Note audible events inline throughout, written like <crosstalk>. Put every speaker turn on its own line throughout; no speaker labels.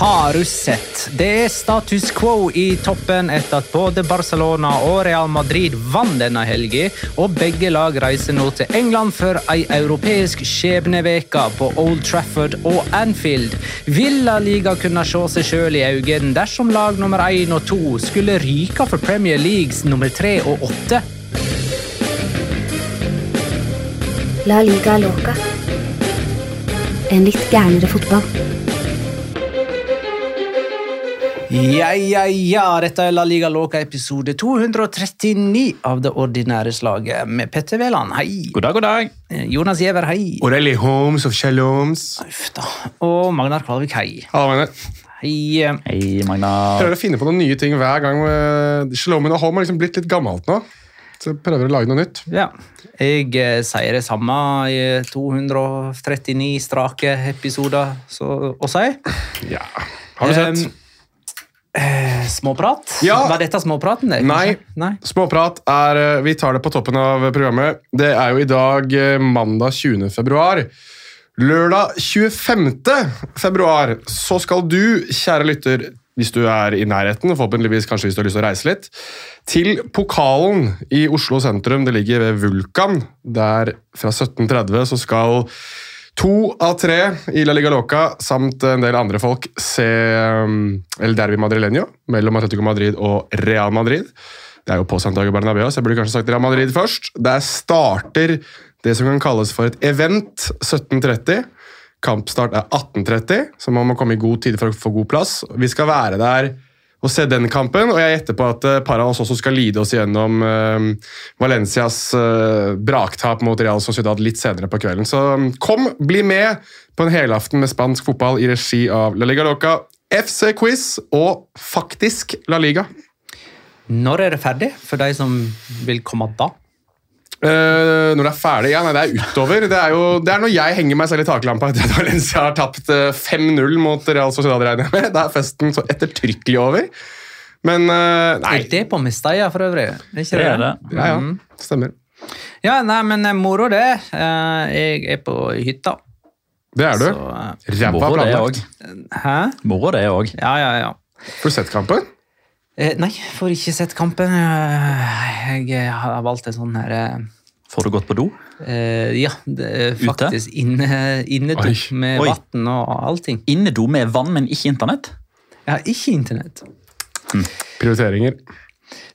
Har du sett? Det er status quo i toppen etter at både Barcelona og Real Madrid vant denne helgen, og begge lag reiser nå til England for ei europeisk skjebneveke på Old Trafford og Anfield. Vil La Liga kunne se seg sjøl i øynene dersom lag nummer én og to skulle ryke for Premier Leagues nummer tre og åtte?
La liga loca. En litt gærnere fotball.
Ja, ja, ja. Dette er La Liga Loca episode 239 av det ordinære slaget med Petter Veland. Hei!
God dag, god dag!
Jonas Giæver, hei.
Orelli Holmes of Shalloms.
Uff da. Og Magnar Kvalvik, hei. Hei. eh,
Hei, Magna.
prøver å finne på noen nye ting hver gang. eh, Shalomen og Holm har liksom blitt litt gammelt nå. Så jeg prøver å lage noe nytt.
Ja. Jeg eh, sier det samme i 239 strake episoder så, å si.
Ja. Har du sett?
Em, eh, småprat?
Ja.
Var dette småpraten? Det,
Nei.
kanskje? Nei.
Småprat er eh, Vi tar det på toppen av programmet. Det er jo i dag eh, mandag 20. februar. Lørdag 25. februar så skal du, kjære lytter, hvis du er i nærheten, forhåpentligvis kanskje hvis du har lyst til å reise litt, til Pokalen i Oslo sentrum. Det ligger ved Vulkan. Der fra 17.30 så skal to av tre i La Liga Loca samt en del andre folk se um, El Derbi Madrileño mellom Atletico Madrid og Real Madrid. Det er jo på Santiago Bernabeu, så jeg burde kanskje sagt Real Madrid først. Der starter det som kan kalles for et event 17.30. Kampstart er 18.30, så man må komme i god tid for å få god plass. Vi skal være der og se den kampen, og jeg gjetter på at eh, par av oss også skal lide oss gjennom eh, Valencias eh, braktap mot Real Sociedad litt senere på kvelden. Så mm, kom, bli med på en helaften med spansk fotball i regi av La Liga Loca, FC Quiz og faktisk La Liga.
Når er det ferdig, for de som vil komme da?
Eh, når det er ferdig? Ja, nei, det er utover. Det er jo det er når jeg henger meg selv i taklampa etter at Valencia har tapt eh, 5-0 mot Real Sociedad, regner jeg med. Da er festen så ettertrykkelig over. Men eh, Nei.
Er det på Mestalla for øvrig? Er ikke
Det er det.
Ja, ja. Stemmer.
Ja, nei, men eh, moro det. Eh, Jeg er på hytta.
Det er du.
Så, eh,
Ræva
Moro det
planlagt.
òg.
Hæ?
Moro det òg.
Ja, ja, ja.
Har du sett kampen?
Eh, Nei, får ikke sett kampen. Eh, Jeg har valgt en sånn her
Får du gått på do?
eh, Ja, det er
Ute?
faktisk inne- innedo
Oi.
med
Oi.
vann og allting.
Innedo med vann, men ikke internett?
Jeg har ikke internett.
Prioriteringer.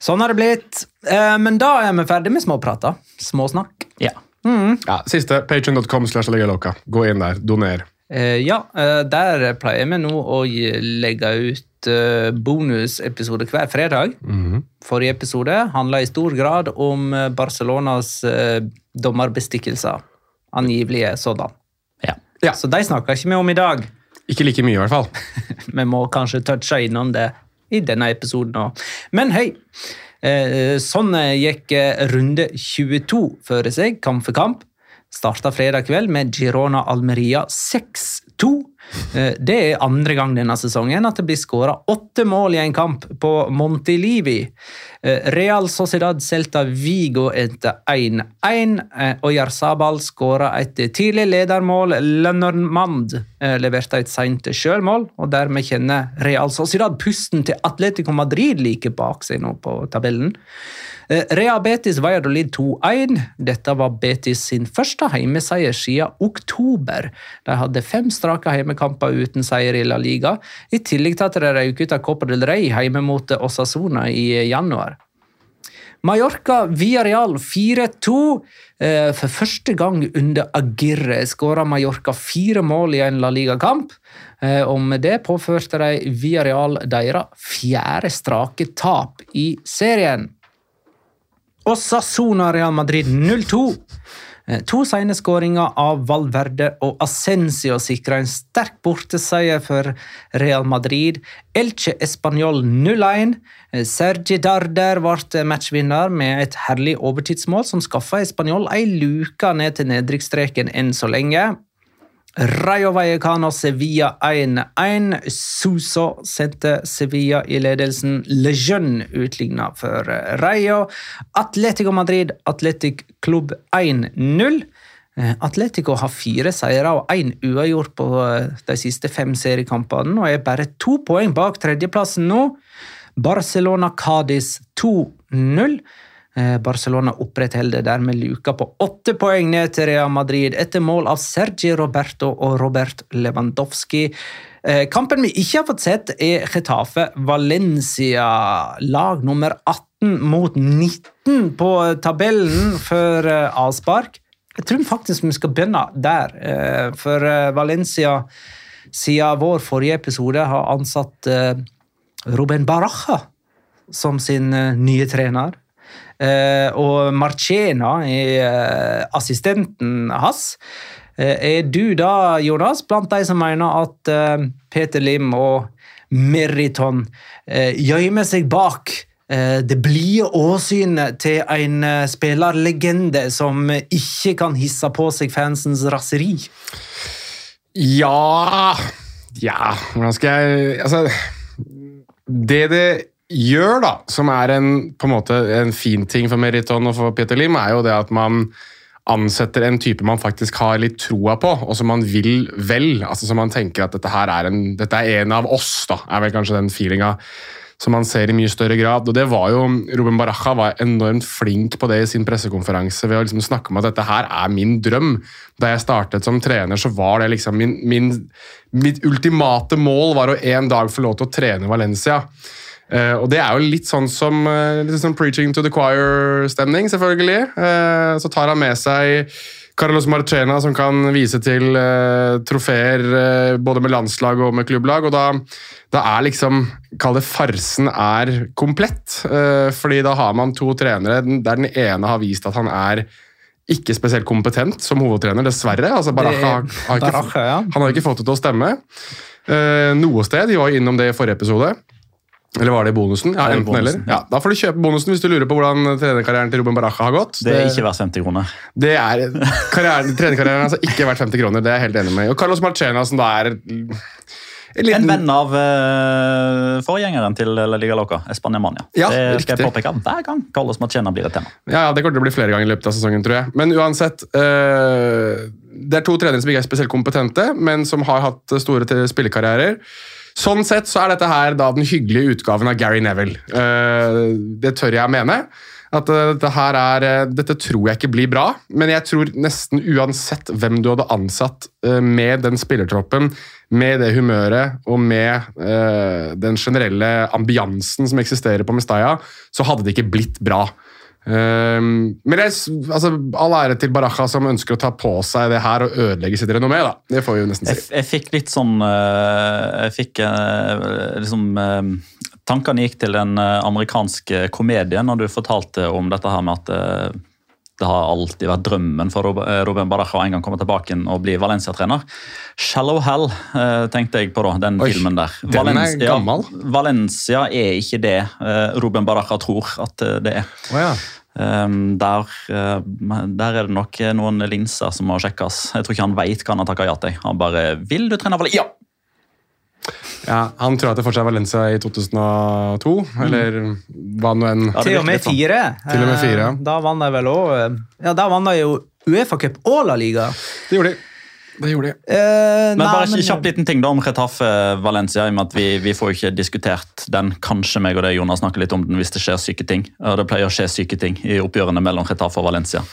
Sånn har det blitt. Eh, Men da er vi ferdig med småprater. Småsnakk.
Ja.
Ja, siste. Patreon.com slash legaloka. Gå inn der. Doner.
Eh, Ja, eh, der pleier vi nå å gi- legge ut eh, bonusepisoder hver fredag. Forrige episode handla i stor grad om eh, Barcelonas eh, dommerbestikkelser. Angivelige sådan.
ja.
Ja.
Så de snakker ikke vi om i dag.
Ikke like mye, i hvert fall.
Vi må kanskje touche innom det i denne episoden òg. Men hei! eh, Sånn gikk eh, runde 22 for seg, kamp for kamp. Starta fredag kveld med Girona Almeria 6-2. Eh, Det er andre gang denne sesongen at det blir skåra åtte mål i en kamp på Montelivi. Eh, Real Sociedad Celta Vigo etter 1-1, eh, og Jarzabal skåra et tidlig ledermål. Lenormand eh, leverte et seint sjølmål, og dermed kjenner Real Sociedad pusten til Atletico Madrid like bak seg nå på tabellen. Eh, Rea Betis Valladolid 2-1. Dette var Betis sin første heimeseier siden oktober. De hadde fem strake heimekamper uten seier i La Liga, i tillegg til at de røyk ut av Copa del Rey hjemme mot Osasuna i januar. Mallorca Villarreal 4-2. Eh, For første gang under Agirre skåra Mallorca fire mål i en La Liga-kamp. Eh, Og med det påførte de Villarreal deres fjerde strake tap i serien. Og Sassona Real Madrid 0-2. Eh, To sene skåringer av Valverde og Ascencio sikra en sterk borteseier for Real Madrid. Elche Español 0-1. Eh, Sergi Darder ble matchvinner med et herlig overtidsmål som skaffa Español ei luke ned til nedrykksstreken enn så lenge. Rayo Vallecano Sevilla 1-1. Suso sendte Sevilla i ledelsen. Lejeune utligna for Rayo. Atletico Madrid Atletic Klubb 1-0. Eh, Atletico har fire seire og én uavgjort på eh, de siste fem seriekampene og er bare to poeng bak tredjeplassen nå. Barcelona Cádiz 2-0. Eh, Barcelona opprettholder dermed luka på åtte poeng ned til Real Madrid etter mål av Sergi Roberto og Robert Lewandowski. Eh, Kampen vi ikke har fått sett, er Getafe Valencia, lag nummer 18 mot 19 på tabellen for eh, avspark. Jeg tror faktisk vi skal begynne der, eh, for eh, Valencia siden vår forrige episode har ansatt eh, Ruben Baraja som sin eh, nye trener. Eh, og Marchena er eh, assistenten hans. Eh, er du da, Jonas, blant de som mener at eh, Peter Lim og Meriton eh, gjemmer seg bak eh, det blide åsynet til en eh, spillerlegende som ikke kan hisse på seg fansens raseri?
Ja Ja, hvordan skal jeg Altså Det det gjør, da, som er en, på en, måte, en fin ting for Meriton og for Peter Lim, er jo det at man ansetter en type man faktisk har litt troa på, og som man vil vel. altså Som man tenker at dette her er en, dette er en av oss, da, er vel kanskje den feelinga som man ser i mye større grad. Og det var jo, Ruben Baraja var enormt flink på det i sin pressekonferanse ved å liksom snakke om at dette her er min drøm. Da jeg startet som trener, så var det liksom min, min, mitt ultimate mål var å en dag få lov til å trene Valencia. Eh, og det er jo litt sånn som eh, litt sånn preaching to the choir-stemning, selvfølgelig. Eh, så tar han med seg Carlos Marchena, som kan vise til eh, trofeer eh, både med landslag og med klubblag. Og da, da er liksom Kall det farsen er komplett. Eh, fordi da har man to trenere den- der den ene har vist at han er ikke spesielt kompetent som hovedtrener, dessverre. Altså, Baraja har, har ikke
Baraja, ja.
han har ikke fått det til å stemme. Eh, noe sted. Vi var jo innom det i forrige episode. Eller var det i bonusen? Ja,
Det er i
enten eller.
bonusen, ja.
Ja, da får du kjøpe bonusen hvis du lurer på hvordan trenerkarrieren til Ruben Baraja har gått.
Det er ikke verdt 50 kroner.
Det er karrieren, Trenerkarrieren hans har ikke vært 50 kroner, det er jeg helt enig med. Og Carlos Marchena, som da er en
En
liten
venn av eh, forgjengeren til La Liga Loca, Espania-Mania.
Ja,
det skal jeg
riktig.
påpeke hver gang Carlos Marchena blir et tema.
Ja, ja, det kommer til å bli flere ganger i løpet av sesongen, tror jeg. Men uansett eh, Det er to trenere som ikke er spesielt kompetente, men som har hatt store te- spillekarrierer. Sånn sett så er dette her da den hyggelige utgaven av Gary Neville. Eh, det tør jeg mene. At eh, dette her er eh, Dette tror jeg ikke blir bra, men jeg tror nesten uansett hvem du hadde ansatt eh, med den spillertroppen med det humøret og med eh, den generelle ambiansen som eksisterer på Mestalla, så hadde det ikke blitt bra. Ehm, men jeg, s- altså, all ære til Baraja som ønsker å ta på seg det her og ødelegge sitt renommé. da. Det får vi jo nesten
Jeg,
si.
jeg fikk litt sånn eh, Jeg fikk eh, liksom eh, Tankene gikk til den eh, amerikanske komedien når du fortalte om dette her med at eh, det har alltid vært drømmen for Rob- eh, Ruben Baraja å en gang komme tilbake igjen og bli Valencia-trener. 'Shallow Hell' eh, tenkte jeg på da, den
Oi,
filmen der.
den er gammel.
Valencia er ikke det eh, Ruben Baraja tror at eh, det er. Um, der, uh, der er det nok noen linser som må sjekkes. Jeg tror ikke han veit hva han har takka ja til. Han bare 'Vil du trene Valencia?' Ja!
Ja, han tror at det fortsatt er Valencia i 2002, eller hva nå enn.
Ja, det
Til og
virker
med
litt sånn.
fire.
Til og med fire, ja.
Eh, Da vant de vel òg Ja, da vant de jo Uefa-cup og La Liga.
Det gjorde de. Det gjorde de.
Eh,
Men
nei,
bare
men-
en kjapp liten ting da om Retafe Valencia. i og med at Vi, vi får jo ikke diskutert den. Kanskje meg og det, Jonas snakker litt om den hvis det skjer syke ting. Og det pleier å skje syke ting i oppgjørene mellom Retafe og Valencia.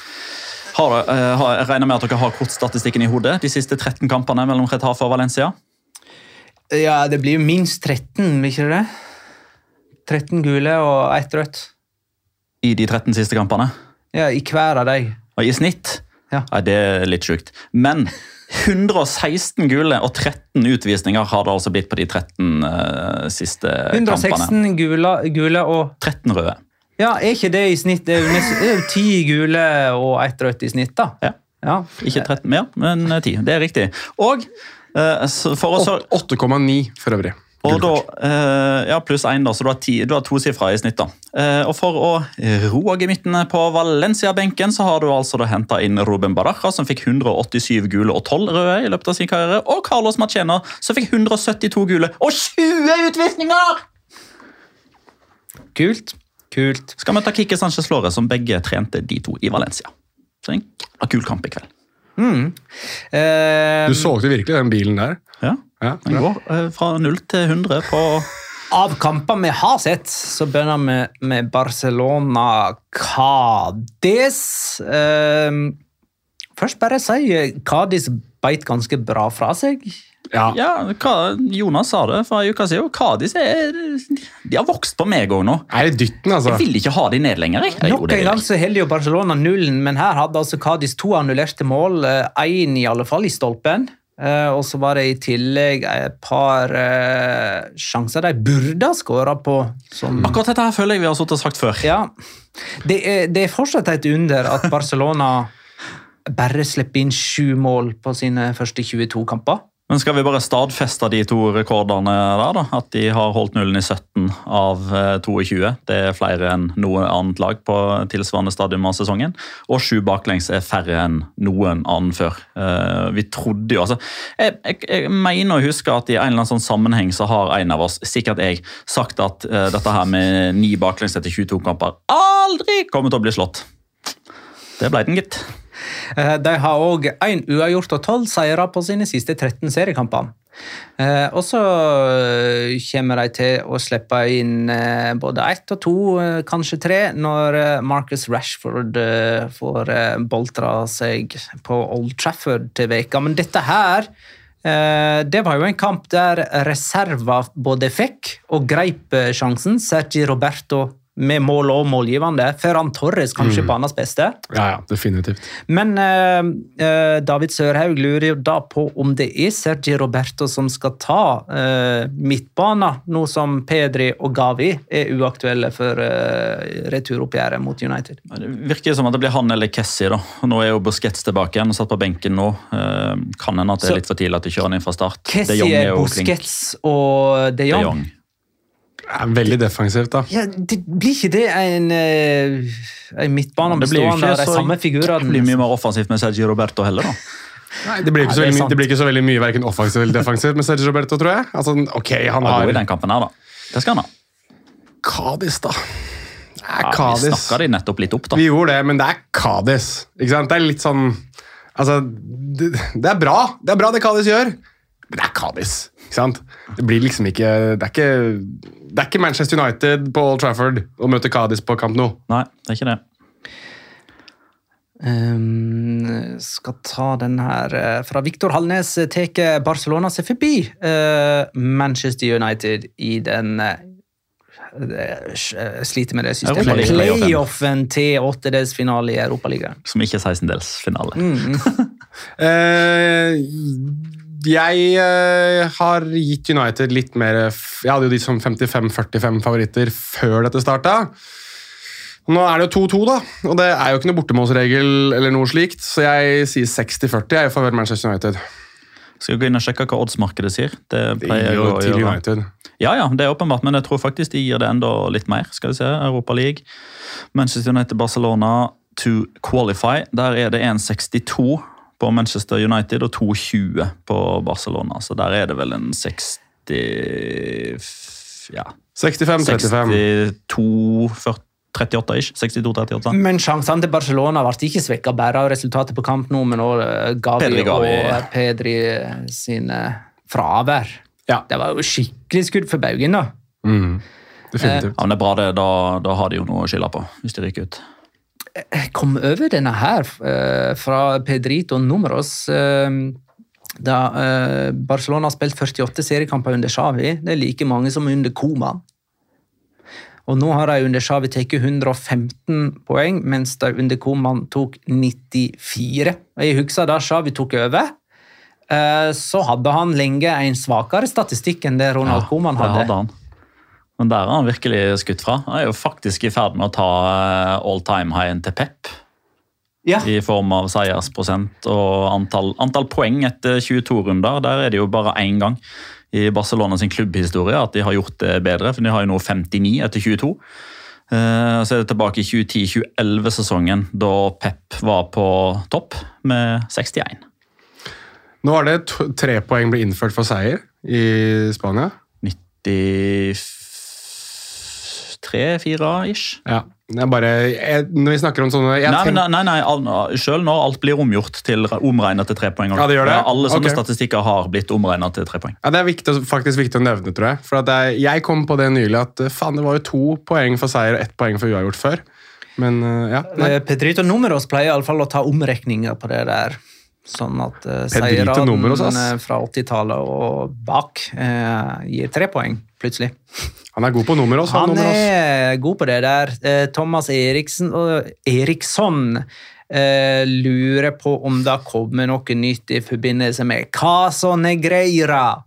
Har, eh, har, jeg regner med at dere har kortstatistikken i hodet. De siste 13 kampene mellom Retafe og Valencia.
Ja, det blir jo minst 13, vil ikke det? 13 gule og ett rødt.
I de 13 siste kampene.
Ja, I hver av de.
Og I snitt
Ja.
Nei, det er litt sjukt. Men 116 gule og 13 utvisninger har det altså blitt på de 13 eh, siste kampene.
116 gule, gule og
13 røde.
Ja, er ikke det i snitt? Det er jo nest- det er jo ti gule og ett rødt i snitt, da.
Ja.
Ja.
Ikke 13 mer, men 10. Det er riktig. Og eh, så for å så,
Åt- 8,9 for øvrig.
og da,
Gullkort.
eh, ja, Pluss én, da, så du har, ti, du har tosifra i snitt. da. Eh, og For å roe gemyttene på Valencia-benken så har du altså da henta inn Ruben Baraja, som fikk 187 gule og 12 røde i løpet av sin karriere. Og Carlos Machena, som fikk 172 gule og 20 utvisninger!
Kult. Kult.
skal møte Kike Sanchez Flore, som begge trente de to i Valencia. Så en k- kul kamp i kveld.
Eh,
Du solgte virkelig den bilen der.
Ja,
Ja,
Den
ja.
går eh, fra 0 til 100 på
Av kamper vi har sett, så begynner vi med Barcelona Cádiz. Ehm, først bare si eh, Cádiz beit ganske bra fra seg.
Ja.
Ja, hva, Jonas sa det for en uke siden. Kadis er De har vokst på meg òg nå.
Er det dytten, altså?
Jeg vil ikke ha de ned lenger. jeg. Jeg
Nok
gjorde det
en
i
gang
dag.
så holder jo Barcelona nullen, men her hadde altså Cádiz to annullerte mål. Én i alle fall i stolpen. Eh, og så var det i tillegg et par eh, sjanser de burde ha skåra på, som
Akkurat dette her føler jeg vi har sittet og sagt før.
Ja. Det er, det er fortsatt et under at Barcelona bare slipper inn sju mål på sine første 22 kamper.
Men skal vi bare stadfeste de to rekordene der, da? At de har holdt nullen i 17 av eh, 22. Det er flere enn noe annet lag på tilsvarende stadium av sesongen. Og sju baklengs er færre enn noen annen før. Eh, Vi trodde jo, altså Jeg, jeg, jeg mener å huske at i en eller annen sånn sammenheng så har en av oss, sikkert jeg, sagt at eh, dette her med ni baklengs etter 22 kamper aldri kommer til å bli slått. Det ble den, gitt.
Eh, De har òg én uavgjort og tolv seire på sine siste 13 seriekamper. Eh, Og så eh, kommer de til å slippe inn eh, både ett og to, eh, kanskje tre, når eh, Marcus Rashford eh, får eh, boltra seg på Old Trafford til veka. Men dette her eh, det var jo en kamp der reserva både fikk og greip eh, sjansen. Sergi Roberto med mål og målgivende. Ferran Torres kanskje banens beste.
ja, ja, definitivt.
Men eh, eh, David Sørhaug lurer jo da på om det er Sergi Roberto som skal ta uh, midtbanen, nå som Pedri og Gavi er uaktuelle for eh, returoppgjøret mot United.
Det virker som at det blir han eller Kessie. da. Nå er jo Busquets tilbake igjen og satt på benken nå. Eh, Kan hende at det
Så-
er litt for tidlig at de kjører han inn fra start. De Jong
Kessie,
er jo flink.
Busquets og de
De
Jong.
Jong.
Ja, veldig defensivt, da.
Ja, det, blir ikke det en, eh, en midtbane
Det blir jo
bestående
ikke
av de
så
samme liksom.
blir mye
figurene?
mer offensivt med Sergio Roberto heller, da.
Nei, det, blir ikke så
det er
veldig, mye-
sant.
det blir ikke så veldig mye verken offensivt eller defensivt med Sergio Roberto, tror jeg. Altså, ok, han
Han er god i
har
den kampen her, da. Det skal han ha.
Kadis, da. Det er
Ja, vi
Kadis.
snakka de nettopp litt opp, da.
Vi gjorde det, men det er Kadis. Ikke sant? Det er litt sånn Altså, det, det er bra. Det er bra det Kadis gjør, men det er Kadis. Ikke sant? Det blir liksom ikke Det er ikke, det er ikke Manchester United på Old Trafford å møte Kadis på Camp Nou.
Nei, det er ikke det.
Ehm, skal ta den her eh, Fra Viktor Hallnes tar Barcelona seg forbi eh, Manchester United i den eh, eh, Sliter med det systemet.
Europa League.
Playoffen til åttedelsfinale i Europaligaen.
Som ikke er 16-delsfinale.
Mm.
Eh, jeg eh, har gitt United litt mer f- Jeg hadde jo de som 55-45 favoritter før dette starta. Nå er det jo 2-2, da, og det er jo ikke noe bortemålsregel, eller noe slikt, så jeg sier 60-40 jeg i favør Manchester United.
Skal vi gå inn og sjekke hva oddsmarkedet sier? Det
Det
pleier
gir
jeg
jo
å
til
gjøre.
United.
Ja, ja, det er åpenbart, men jeg tror faktisk de gir det enda litt mer. Skal vi se, Europa League. Manchester United, Barcelona to qualify. Der er det 1,62 på Manchester United og 2,20 på Barcelona. Så der er det vel en 60 Ja. Eh.
65-35.
62 40 38 ish. 62-38.
Men sjansene til Barcelona ble ikke svekka bare av resultatet på kamp nå, men òg Gavi,
Pedri Gavi.
og Pedri sine fravær.
Ja.
Det var jo skikkelig skudd for baugen, da.
Mm,
Ja,
definitivt.
men det er bra, det. Da, da har de jo noe å skylde på, hvis de ryker ut.
Jeg kom over denne her eh, fra Pedrito Numeros eh, da eh, Barcelona har spilt 48 seriekamper under Xavi. Det er like mange som under Koma. Og nå har de under Xavi tatt 115 poeng, mens de under Koman tok 94. Og jeg husker da Xavi tok over, eh, så hadde han lenge en svakere statistikk enn det Ronald
Ja,
Koman
det
hadde.
hadde han. Men der har han virkelig skutt fra. Han er jo faktisk i ferd med å ta eh, all time high-en til Pep.
Ja.
I form av seiersprosent og antall, antall poeng etter 22 runder. Der er det jo bare én gang i Barcelona sin klubbhistorie at de har gjort det bedre. For de har jo nå 59 etter 22. Eh, Så er det tilbake i 2010-2011-sesongen, da Pep var på topp med 61.
Nå er det to, tre poeng ble innført for seier i Spania.
93-4-ish.
Ja. Det er bare jeg, Når vi snakker om sånne jeg
Nei,
tenker-
nei, nei, nei al- selv når alt blir omgjort til omregnet til tre poeng.
Ja, det gjør det.
alle sånne
Ok.
statistikker har blitt omregnet til tre poeng.
Ja, Det er viktig, faktisk viktig å nevne, tror jeg. For at jeg, jeg kom på det nylig at eh, faen, det var jo to poeng for seier og ett poeng for uavgjort før. Men eh, ja. Nei.
Eh, Pedrito Numeros pleier iallfall å ta omrekninger på det der. Sånn at uh,
Pedrito
seirene
Numeros, ass.
eh, fra 80-tallet og bak eh, gir tre poeng, plutselig.
Han er god på nummer også. Han
Han
nummer også.
er god på det der. Eh, Thomas Eriksen og Eriksson eh, lurer på om det kommer noe nytt i forbindelse med Casa Negreira.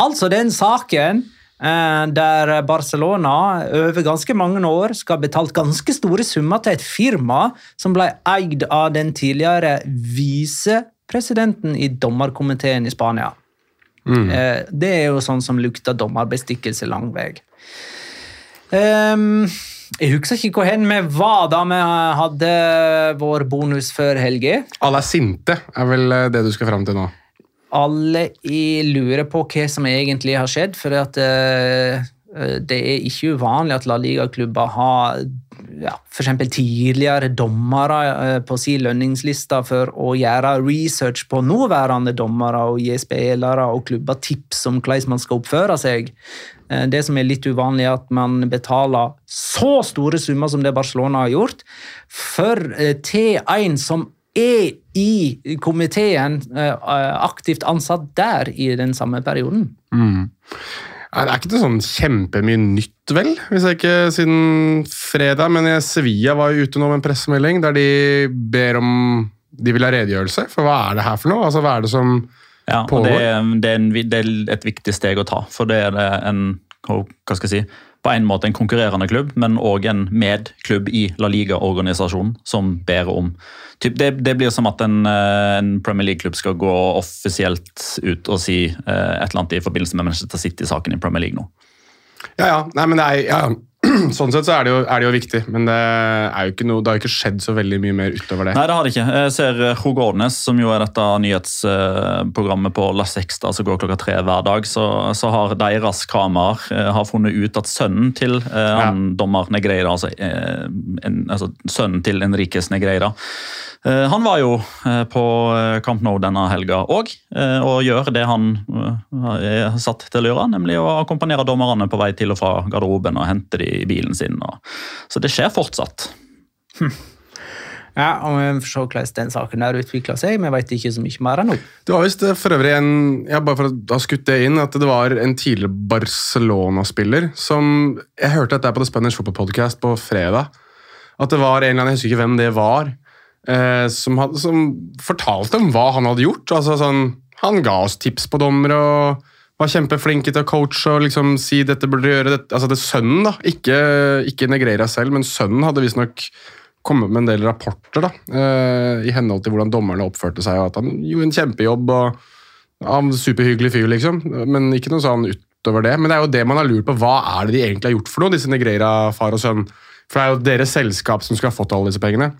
Altså den saken eh, der Barcelona over ganske mange år skal ha betalt ganske store summer til et firma som ble eid av den tidligere visepresidenten i dommerkomiteen i Spania.
Mm.
Eh, Det er jo sånn som lukter dommerbestikkelse lang vei. Ehm, jeg husker ikke hvor hen vi var da vi hadde vår bonus før helga.
Alle er sinte, er vel eh, det du skal fram til nå.
Alle i lurer på hva som egentlig har skjedd, for at, eh, eh, det er ikke uvanlig at La Liga-klubber har ja, f.eks. tidligere dommere eh, på sin lønningsliste for å gjøre research på nåværende dommere og gi spillere og klubber tips om hvordan man skal oppføre seg. Eh, Det som er litt uvanlig, er at man betaler så store summer som det Barcelona har gjort, for eh, til en som er i komiteen eh, aktivt ansatt der i den samme perioden.
Er er ikke det sånn kjempemye nytt, vel? Hvis jeg ikke siden fredag, men jeg- Sevilla var jo ute nå med en pressemelding der de ber om De vil ha redegjørelse, for hva er det her for noe? Altså, hva er det som
Ja, og
Pågår.
det, er- det, er en, vi- det er et viktig steg å ta, for det er det en hva hva skal jeg si, på en måte en konkurrerende klubb, men òg en medklubb i La Liga-organisasjonen som ber om typ, det, det blir som at en, eh, en Premier League-klubb skal gå offisielt ut og si eh, et eller annet i forbindelse med Manchester City-saken i Premier League nå.
Ja, ja. Nei, men det er, ja, <clears throat> ja. Sånn sett så er det, jo, er det jo viktig, men det, er jo ikke noe, det har jo ikke skjedd så veldig mye mer utover det.
Nei, det har det ikke. Jeg ser Rogornes, som jo er dette nyhetsprogrammet på La Sexta, som går klokka tre hver dag, så, så har deres kameraer eh, har funnet ut at sønnen til eh, han dommer Negreira, altså, eh, en, altså sønnen til Enriques Negreira, eh, han var jo eh, på eh, Camp Nou denne helga òg, eh, og gjør det han eh, er satt til å gjøre, nemlig å akkompagnere dommerne på vei til og fra garderoben og hente de i bilen sin. Og, så det skjer fortsatt.
Ja, og Vi får se hvordan den saken der utvikler seg. Vi vet ikke så mye mer nå.
Det var visst eh, for øvrig en ja, bare for å ha skutt det inn, at det var en tidligere Barcelona-spiller som Jeg hørte dette på The Spanish Football Podcast på fredag. At det var en eller annen, jeg husker ikke hvem det var, eh, som, hadde, som fortalte om hva han hadde gjort. Altså sånn, Han ga oss tips på dommere og var kjempeflink til å coache og liksom si dette burde du gjøre. Dette. Altså det er Sønnen, da, ikke, ikke Negreira selv, men sønnen hadde visstnok kommet med en del rapporter da, eh, i henhold til hvordan dommerne oppførte seg. og at Han gjorde en kjempejobb. og han var en Superhyggelig fyr, liksom. Men ikke noe sånn utover det. Men det er jo det man har lurt på. Hva er det de egentlig har gjort for noe, disse Negreira, far og sønn? For det er jo deres selskap som skal ha fått alle disse pengene.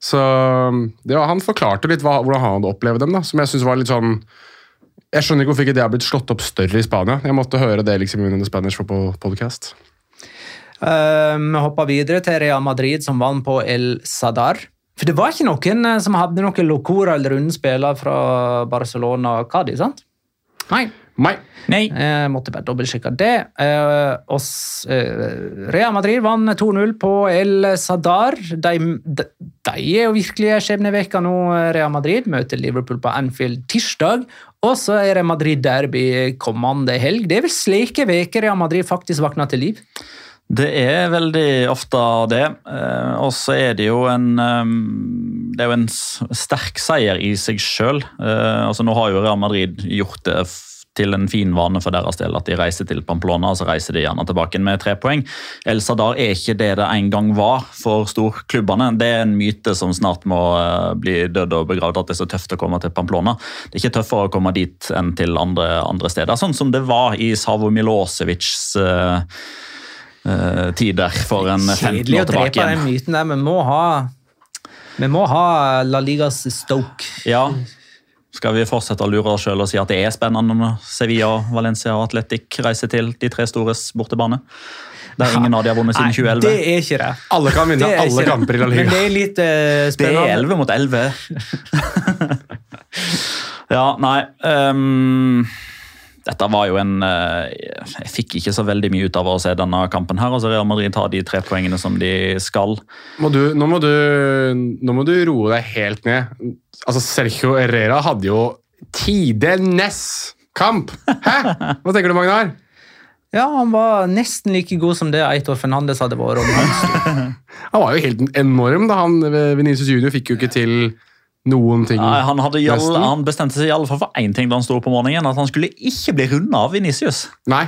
Så um, det var, Han forklarte litt hva, hvordan han hadde opplevd dem, da, som jeg synes var litt sånn Jeg skjønner ikke hvorfor ikke det har blitt slått opp større i Spania. Jeg måtte høre det liksom under The Spanish Football Podcast.
Eh, Vi hoppa videre til Real Madrid, som vant på El Sadar. For det var ikke noen eh, som hadde noen locora eller rundspiller fra Barcelona og Cádiz, sant? Nei.
Nei.
Nei.
Eh, måtte bare dobbeltsjekke det. Eh, og s- eh, Real Madrid vant 2-0 på El Sadar. De, de, de er jo virkelig skjebnevekka nå. eh, Real Madrid møter Liverpool på Anfield tirsdag. Og så er det Madrid-derby kommende helg. Det er vel slike veker Real Madrid faktisk våkner til liv.
Det er veldig ofte det. Eh, Og så er det jo en eh, Det er jo en s- sterk seier i seg sjøl. Altså, nå har jo Real Madrid gjort det f- til en fin vane for deres del at de reiser til Pamplona og så reiser de gjerne tilbake med tre poeng. El Sadar er ikke det det en gang var for storklubbene. Det er en myte som snart må eh, bli dødd og begravd, at det er så tøft å komme til Pamplona. Det er ikke tøffere å komme dit enn til andre, andre steder, sånn som det var i Savo Milosevics eh, eh, tider for en 15
Kjedelig å
år tilbake
drepe den
igjen.
myten der. Vi må ha, vi må ha La Ligas Stoke.
Ja. Skal vi fortsette å lure oss sjøl og si at det er spennende når Sevilla, Valencia og Atletic reiser til de tre stores bortebane? Der ingen av de har vunnet siden
Nei, det
2011.
er ikke det.
Alle kan vinne
Det er
alle
ikke det.
kamper i La
Men
Liga.
det er litt eh,
Det er
spennende.
11 mot 11. <laughs> ja, nei ehm, Dette var jo en eh, Jeg fikk ikke så veldig mye ut av å se denne kampen her. altså Real Madrid tar de tre poengene som de skal.
Må du, nå, må du, nå må du roe deg helt ned. Altså, Sergio Herrera hadde jo tidenes kamp! Hæ? Hva tenker du, Magnar?
Ja, han var nesten like god som det Eitor Fernandes hadde vært. om
<laughs>
han sto.
Han var jo helt enorm, da. Han, Vinicius Junior fikk jo ikke til noen ting.
Nei, han, hadde i alle-
Nesten.
han bestemte seg i alle fall for én ting da han sto opp om morgenen, at han skulle ikke bli runda av Venicius.
Nei,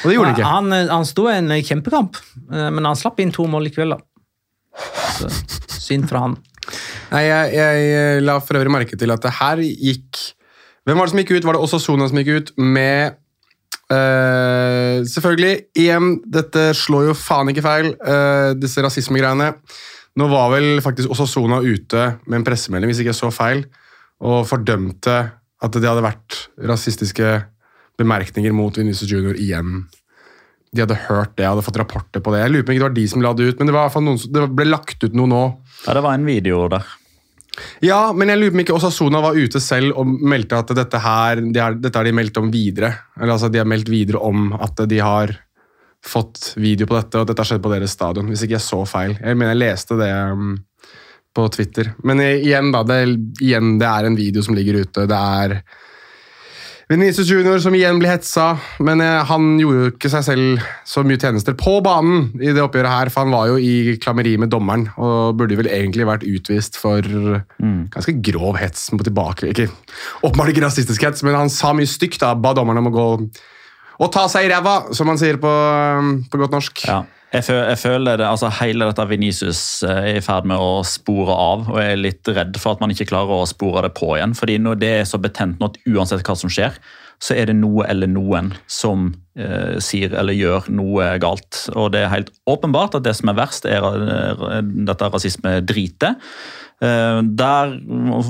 og det gjorde han ikke.
Han, eh, han sto i en kjempekamp, eh, men han slapp inn to mål i kveld. da. Så, synd fra han.
Nei, jeg, jeg la for øvrig merke til at det her gikk Hvem var det som gikk ut? Var det også Sona som gikk ut med eh, Selvfølgelig, igjen, dette slår jo faen ikke feil, eh, disse rasismegreiene. Nå var vel faktisk også Sona ute med en pressemelding, hvis ikke jeg så feil, og fordømte at det hadde vært rasistiske bemerkninger mot Vinicius Junior igjen. De hadde hørt det, hadde fått rapporter på det. Jeg lurer på om ikke det var de som la det ut, men det, var i hvert fall noen, som- det ble lagt ut noe nå.
Ja, Det var en video der.
Ja, men jeg lurer på om ikke Osasuna var ute selv og meldte at dette her, det er, dette har de meldt om videre. Eller altså, de har meldt videre om at de har fått video på dette, og at dette har skjedd på deres stadion. Hvis ikke jeg så feil. Jeg mener, jeg leste det um, på Twitter. Men i- igjen, da. Det, igjen, det er en video som ligger ute. Det er Venezia Junior som igjen blir hetsa, men eh, han gjorde jo ikke seg selv så mye tjenester på banen i det oppgjøret her, for han var jo i klammeri med dommeren og burde vel egentlig vært utvist for
Mm.
ganske grov hets mot tilbake. Ikke, åpenbart ikke rasistisk hets, men han sa mye stygt da, ba dommeren om å gå og ta seg i ræva, som han sier på, eh, på godt norsk.
Ja. Jeg, føl, jeg føler det, altså Hele dette Venicius eh, er i ferd med å spore av, og jeg er litt redd for at man ikke klarer å spore det på igjen. fordi når det er så betent nå at uansett hva som skjer, så er det noe eller noen som eh, sier eller gjør noe galt. Og det er helt åpenbart at det som er verst, er eh, dette rasismedritet. Eh, Der,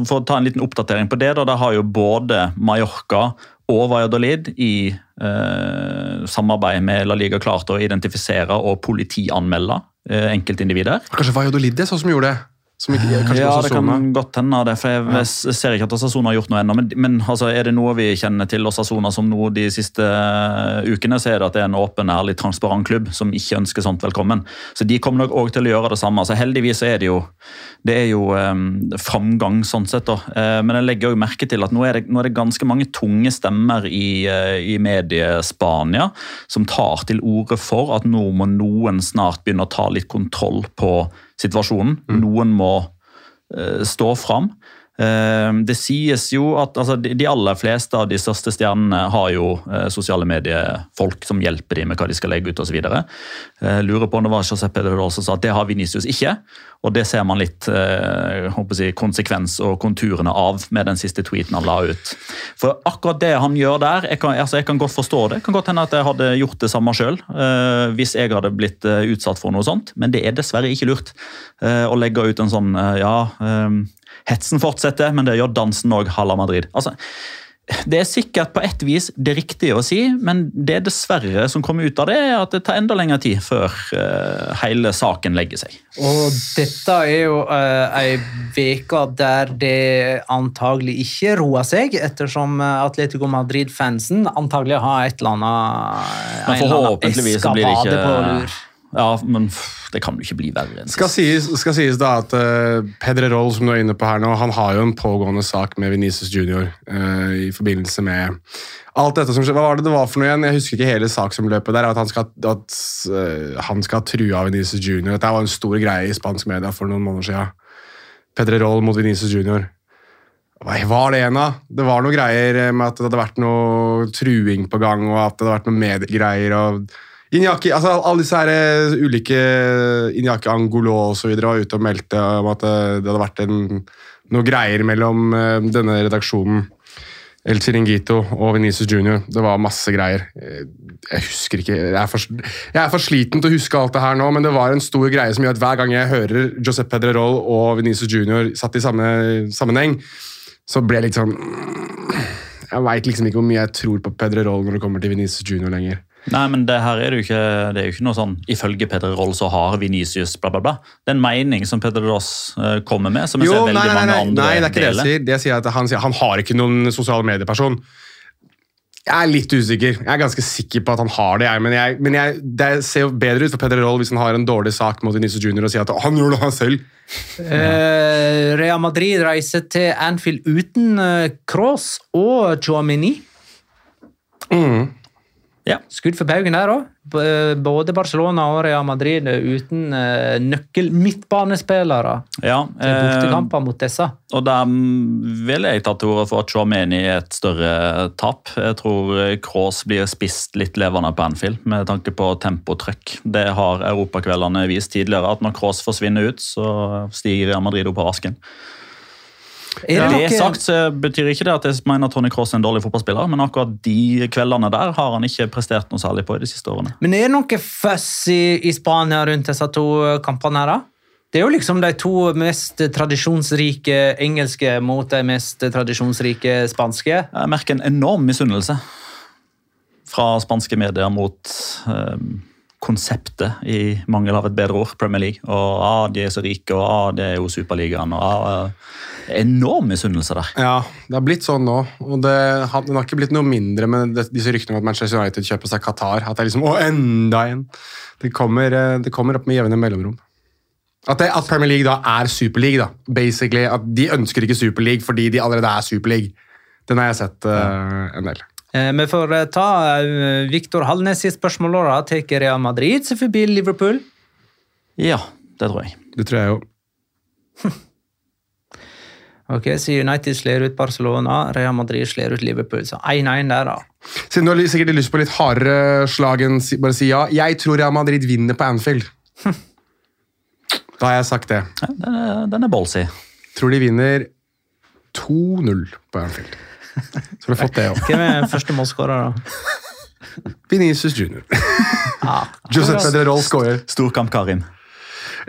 for å ta en liten oppdatering på det, da, der har jo både Mallorca og Valladolid i eh, samarbeid med La Liga klart å identifisere og politianmelde eh, enkeltindivider.
Kanskje Vajodolid det, sånn som gjorde det. Som ikke,
Ja,
kanskje ikke
det
Osasuna.
kan godt hende det, for jeg s- ser ikke at Osasona har gjort noe ennå. Men, men altså, er det noe vi kjenner til Osasona som nå de siste eh, ukene, så er det at det er en åpen, ærlig, transparent klubb som ikke ønsker sånt velkommen. Så de kommer nok òg til å gjøre det samme. Så heldigvis så er det jo, det er jo em, framgang sånn sett, da. Eh, men jeg legger òg merke til at nå er, det, nå er det ganske mange tunge stemmer i, eh, i medie-Spania som tar til orde for at nå må noen snart begynne å ta litt kontroll på situasjonen.
Mm.
Noen må eh, stå fram. Eh, Det sies jo at altså, de de aller fleste av de største stjernene har jo eh, sosiale mediefolk som hjelper dem med hva de skal legge ut osv. Eh, Lurer på om det var Josep Pedro som sa at det har Vinicius ikke. Og det ser man litt eh, håper jeg, å si, konsekvens og konturene av med den siste tweeten han la ut. For akkurat det han gjør der, jeg kan, altså, jeg kan godt forstå det. Kan godt hende at jeg hadde gjort det samme sjøl hvis jeg hadde blitt eh, utsatt for noe sånt, men det er dessverre ikke lurt eh, å legge ut en sånn eh, ja, eh, hetsen fortsetter, men det gjør dansen òg, Halla Madrid. Altså, det er sikkert på ett vis det riktige å si, men det dessverre som kommer ut av det, er at det tar enda lengre tid før eh, hele saken legger seg.
Og dette er jo eh, ei veke der det antagelig ikke roer seg, ettersom eh, Atletico Madrid-fansen antagelig har et eller annet, en
Men
eller annen
forhåpentligvis så blir det
eskapade
ikke
på lur.
Ja, men pff, det kan jo ikke bli verre enn
Skal
sist.
sies, skal sies da at uh, Pedrerol, som du er inne på her nå, han har jo en pågående sak med Venezes Junior eh, i forbindelse med alt dette som skjer. Hva var det det var for noe igjen? Jeg husker ikke hele saksomløpet der. At han skal, at, eh, han skal true av Venezes Junior. Dette var en stor greie i spansk media for noen måneder siden. Pedrerol mot Venezes Junior. Hva var det igjen, da? Det var noen greier eh, med at det hadde vært noe truing på gang, og at det hadde vært noen mediegreier. og Inyaki, altså Alle disse her eh, ulike Inyaki Angolo og så videre var ute og meldte om at eh, det hadde vært en, noe greier mellom eh, denne redaksjonen, El Chiringuito og Venezia Junior. Det var masse greier. Eh, Jeg husker ikke jeg er, for, jeg er for sliten til å huske alt det her nå, men det var en stor greie som gjør at hver gang jeg hører Josep Pedrerol og Venezia Junior satt i samme sammenheng, så ble jeg litt sånn Jeg veit liksom ikke hvor mye jeg tror på Pedrerol når det kommer til Venezia Junior lenger.
Nei, men det her er det jo ikke, det er jo ikke noe sånn ifølge Peder Roll så har Venicius bla, bla, bla. Det er en mening som Peder Ross eh, kommer med, som jeg ser veldig mange andre
nei, det er ikke det
deler.
jeg sier. Det jeg sier er at han, sier, han har ikke noen sosiale medieperson. Jeg er litt usikker. Jeg er ganske sikker på at han har det. Jeg, men jeg, men jeg, det ser jo bedre ut for Peder Roll hvis han har en dårlig sak mot Denise Junior og sier at han gjør det han selv.
Eh, Real Madrid reiser til Anfield uten eh, Kroos og Chouamini. Mm.
Ja.
Skudd for baugen der òg. Både Barcelona og Real Madrid er uten eh, nøkkel midtbanespillere.
Ja,
Det er
eh,
bortekamper mot disse.
altså.
Og der mm, vil jeg ta til orde for at Chouameni er et større tap. Jeg tror eh, Kroos blir spist litt levende på Anfield med tanke på tempotrykk. Det har europakveldene vist tidligere, at når Kroos forsvinner ut, så stiger Real Madrid opp av asken.
Er
Det
det noe-
sagt så betyr ikke det at jeg mener at Tony Kroos er en dårlig fotballspiller, men akkurat de kveldene der har han ikke prestert noe særlig på i de siste årene.
Men er det noe føss i, i Spania rundt disse to eh, kampene her, da? Det er jo liksom de to mest tradisjonsrike engelske mot de mest tradisjonsrike spanske.
Jeg merker en enorm misunnelse fra spanske medier mot eh, konseptet, i mangel av et bedre ord, Premier League. Og ah, de er så rike, og ah, det er jo Superligaen. og ah, eh, Enorm misunnelse der.
Ja, det har blitt sånn nå. Og det, han, den har ikke blitt noe mindre med det, disse ryktene om at Manchester United kjøper seg Qatar. At det er liksom, å, enda en! Det kommer, eh, det kommer opp med jevne mellomrom. At, det, at Premier League da er Superleague, da. Basically, at De ønsker ikke Superleague fordi de allerede er Superleague. Den har jeg sett eh, en del.
Eh, Vi får eh, ta eh, Viktor Halnes i spørsmålet. da. Tar Real Madrid seg forbi Liverpool?
Ja, det tror jeg.
Det tror jeg jo.
Ok, Så United slår ut Barcelona, Real Madrid slår ut Liverpool. Så 1-1 der, da.
Siden du har sikkert lyst på litt hardere slag enn si- bare si ja. Jeg tror Real Madrid vinner på <laughs> Anfield. Da har jeg sagt det.
Ja, Den er, den er ballsy.
Tror de vinner 2-0 på Anfield. Så har du fått det òg.
Hvem er første målskårer, da?
Vinicius Junior. Josep Pedrerol skårer.
Storkamp, Karim.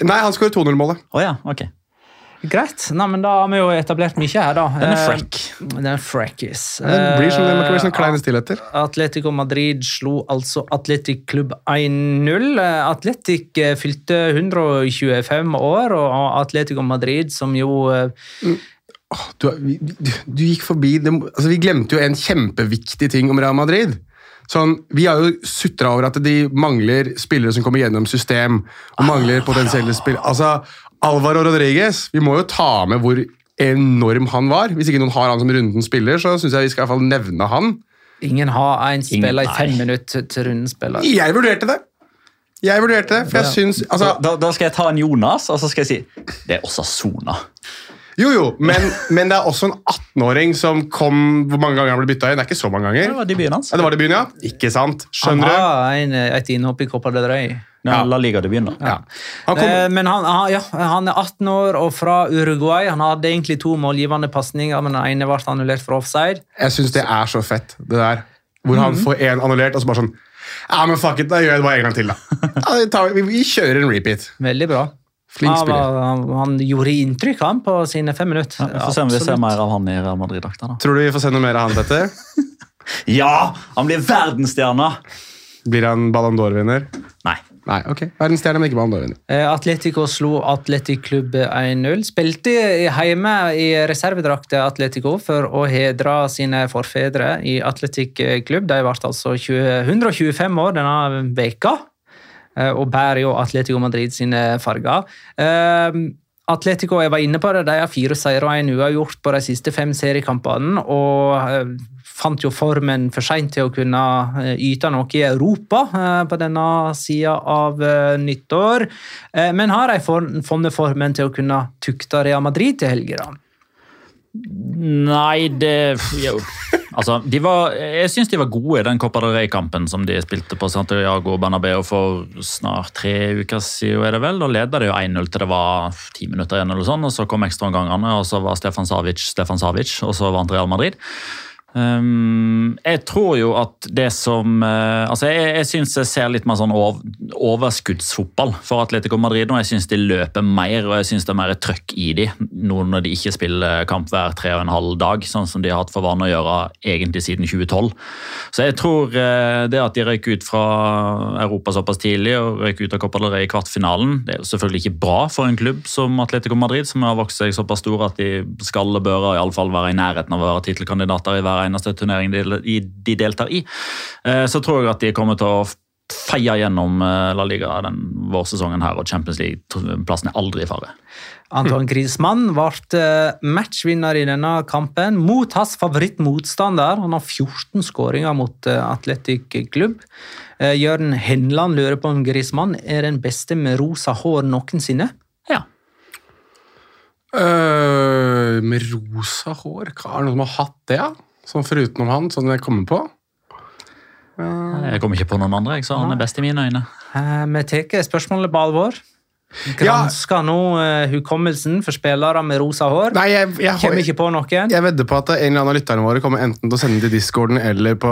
Nei, han skårer 2-0-målet.
Å ja, ok.
Greit. Nei, men da har vi jo etablert mye her, da.
Den er
Eh,
frekk.
Den er frackis.
Det blir sånn, det må ikke bli
Eh,
sånn kleine stillheter.
Atletico Madrid slo altså Atletic Klubb 1-0. Eh, Atletic eh, fylte 125 år, og Atletico Madrid, som jo eh,
Du, er- vi- du, du gikk forbi det, må- altså Vi glemte jo en kjempeviktig ting om Real Madrid. Sånn, vi har jo sutra over at de mangler spillere som kommer gjennom system. Og mangler potensielle spill. Altså, Alvaro Rodriguez Vi må jo ta med hvor enorm han var. Hvis ikke noen har han som rundens spiller, så syns jeg vi skal i hvert fall nevne han.
Ingen har én spiller i fem
nei.
minutter til runden spiller.
Jeg vurderte det! Jeg vurderte det, for jeg syns
Da,
altså,
da, da skal jeg ta en Jonas, og så skal jeg si Det er Osasona.
Jo, jo, men, men det er også en 18-åring som kom Hvor mange ganger han ble bytta inn? Det er ikke så mange
Det
ganger.
var debuten hans.
Ja, det var det byen, ja. Ikke sant?
Han
Skjønner du?
har en, eh, et innhopp i Copa del Rey.
Ja. La Liga-debuten, da.
Ja. Han kom,
Eh, Men han, han, ja, han er 18 år og fra Uruguay. Han hadde egentlig to målgivende pasninger, men den ene ble annullert for offside.
jeg syns det er så fett, det der. Hvor han får én annullert, og så bare sånn Ja, men fuck it, da gjør jeg det bare en gang til, da. Ja, vi, tar, vi, vi kjører en repeat.
Veldig bra.
Flink
han,
spiller.
var, han, han gjorde inntrykk, han, på sine fem minutter.
Vi får se om vi ser
Absolutt.
mer av han i Real Madrid-drakta. da.
Tror du vi får se noe mer av han dette?
Ja! Han blir verdensstjerne!
Blir han Ballon d'Or-vinner?
Nei.
Nei, ok. Verdensstjerne, men ikke Ballon d'Or-vinner.
Eh, Atletico slo Atletic Klubb 1-0. Spilte hjemme i reservedrakt til Atletico for å hedre sine forfedre i Atletic Klubb. De ble altså 20, 125 år denne veka, eh, og bærer jo Atletico Madrid sine farger. Eh, Atletico jeg var inne på det, de har fire seire og en uavgjort på de siste fem seriekampene. og eh, fant jo formen for seint til å kunne eh, yte noe i Europa eh, på denne sida av eh, nyttår. Eh, Men har de for- funnet formen til å kunne tukte Real Madrid til helga, da?
Nei, det jo. Altså, de var, jeg syns de var gode i den Copa del Rey-kampen som de spilte på Santiago Bernabeu for snart tre uker siden. er det vel? Da leda de jo 1-0 til det var ti minutter igjen, eller sånn, og så kom ekstraomgangene, og så var Stefan Savic Stefan Savic, og så vant Real Madrid. Um, jeg tror jo at det som eh, Altså, jeg, jeg syns jeg ser litt mer sånn ov overskuddsfotball for Atletico Madrid nå. Jeg syns de løper mer, og jeg syns det er mer trøkk i de nå når de ikke spiller kamp hver tre og en halv dag, sånn som de har hatt for vane å gjøre egentlig siden 2012. Så jeg tror eh, det at de røyk ut fra Europa såpass tidlig og røyk ut av Copa del Rey i kvartfinalen, det er jo selvfølgelig ikke bra for en klubb som Atletico Madrid, som har vokst seg såpass stor at de skal og bør i alle fall være i nærheten av å være tittelkandidater i hver eneste turnering de, i- de deltar i. Eh, Så tror jeg at de kommer til å feie gjennom eh, La Liga den vårsesongen her, og Champions League-plassen er aldri i fare.
Anton Griezmann ble eh, matchvinner i denne kampen mot hans favorittmotstander. Han har 14 skåringer mot eh, Athletic Klubb. Eh, Jørn Henland lurer på om Griezmann er den beste med rosa hår noensinne.
Ja.
Øh, med rosa hår Hva- Er det noen som har hatt det, ja? Sånn forutenom han, sånn jeg kommer på?
Jeg kommer ikke på noen andre, jeg, så han er best i mine øyne.
Eh, Vi tar spørsmålet på alvor. Gransker nå eh, hukommelsen for spillere med rosa hår.
Nei, jeg, jeg,
Kommer
jeg,
ikke på noen.
jeg vedder på at en eller annen av lytterne våre kommer enten til å sende til discorden eller på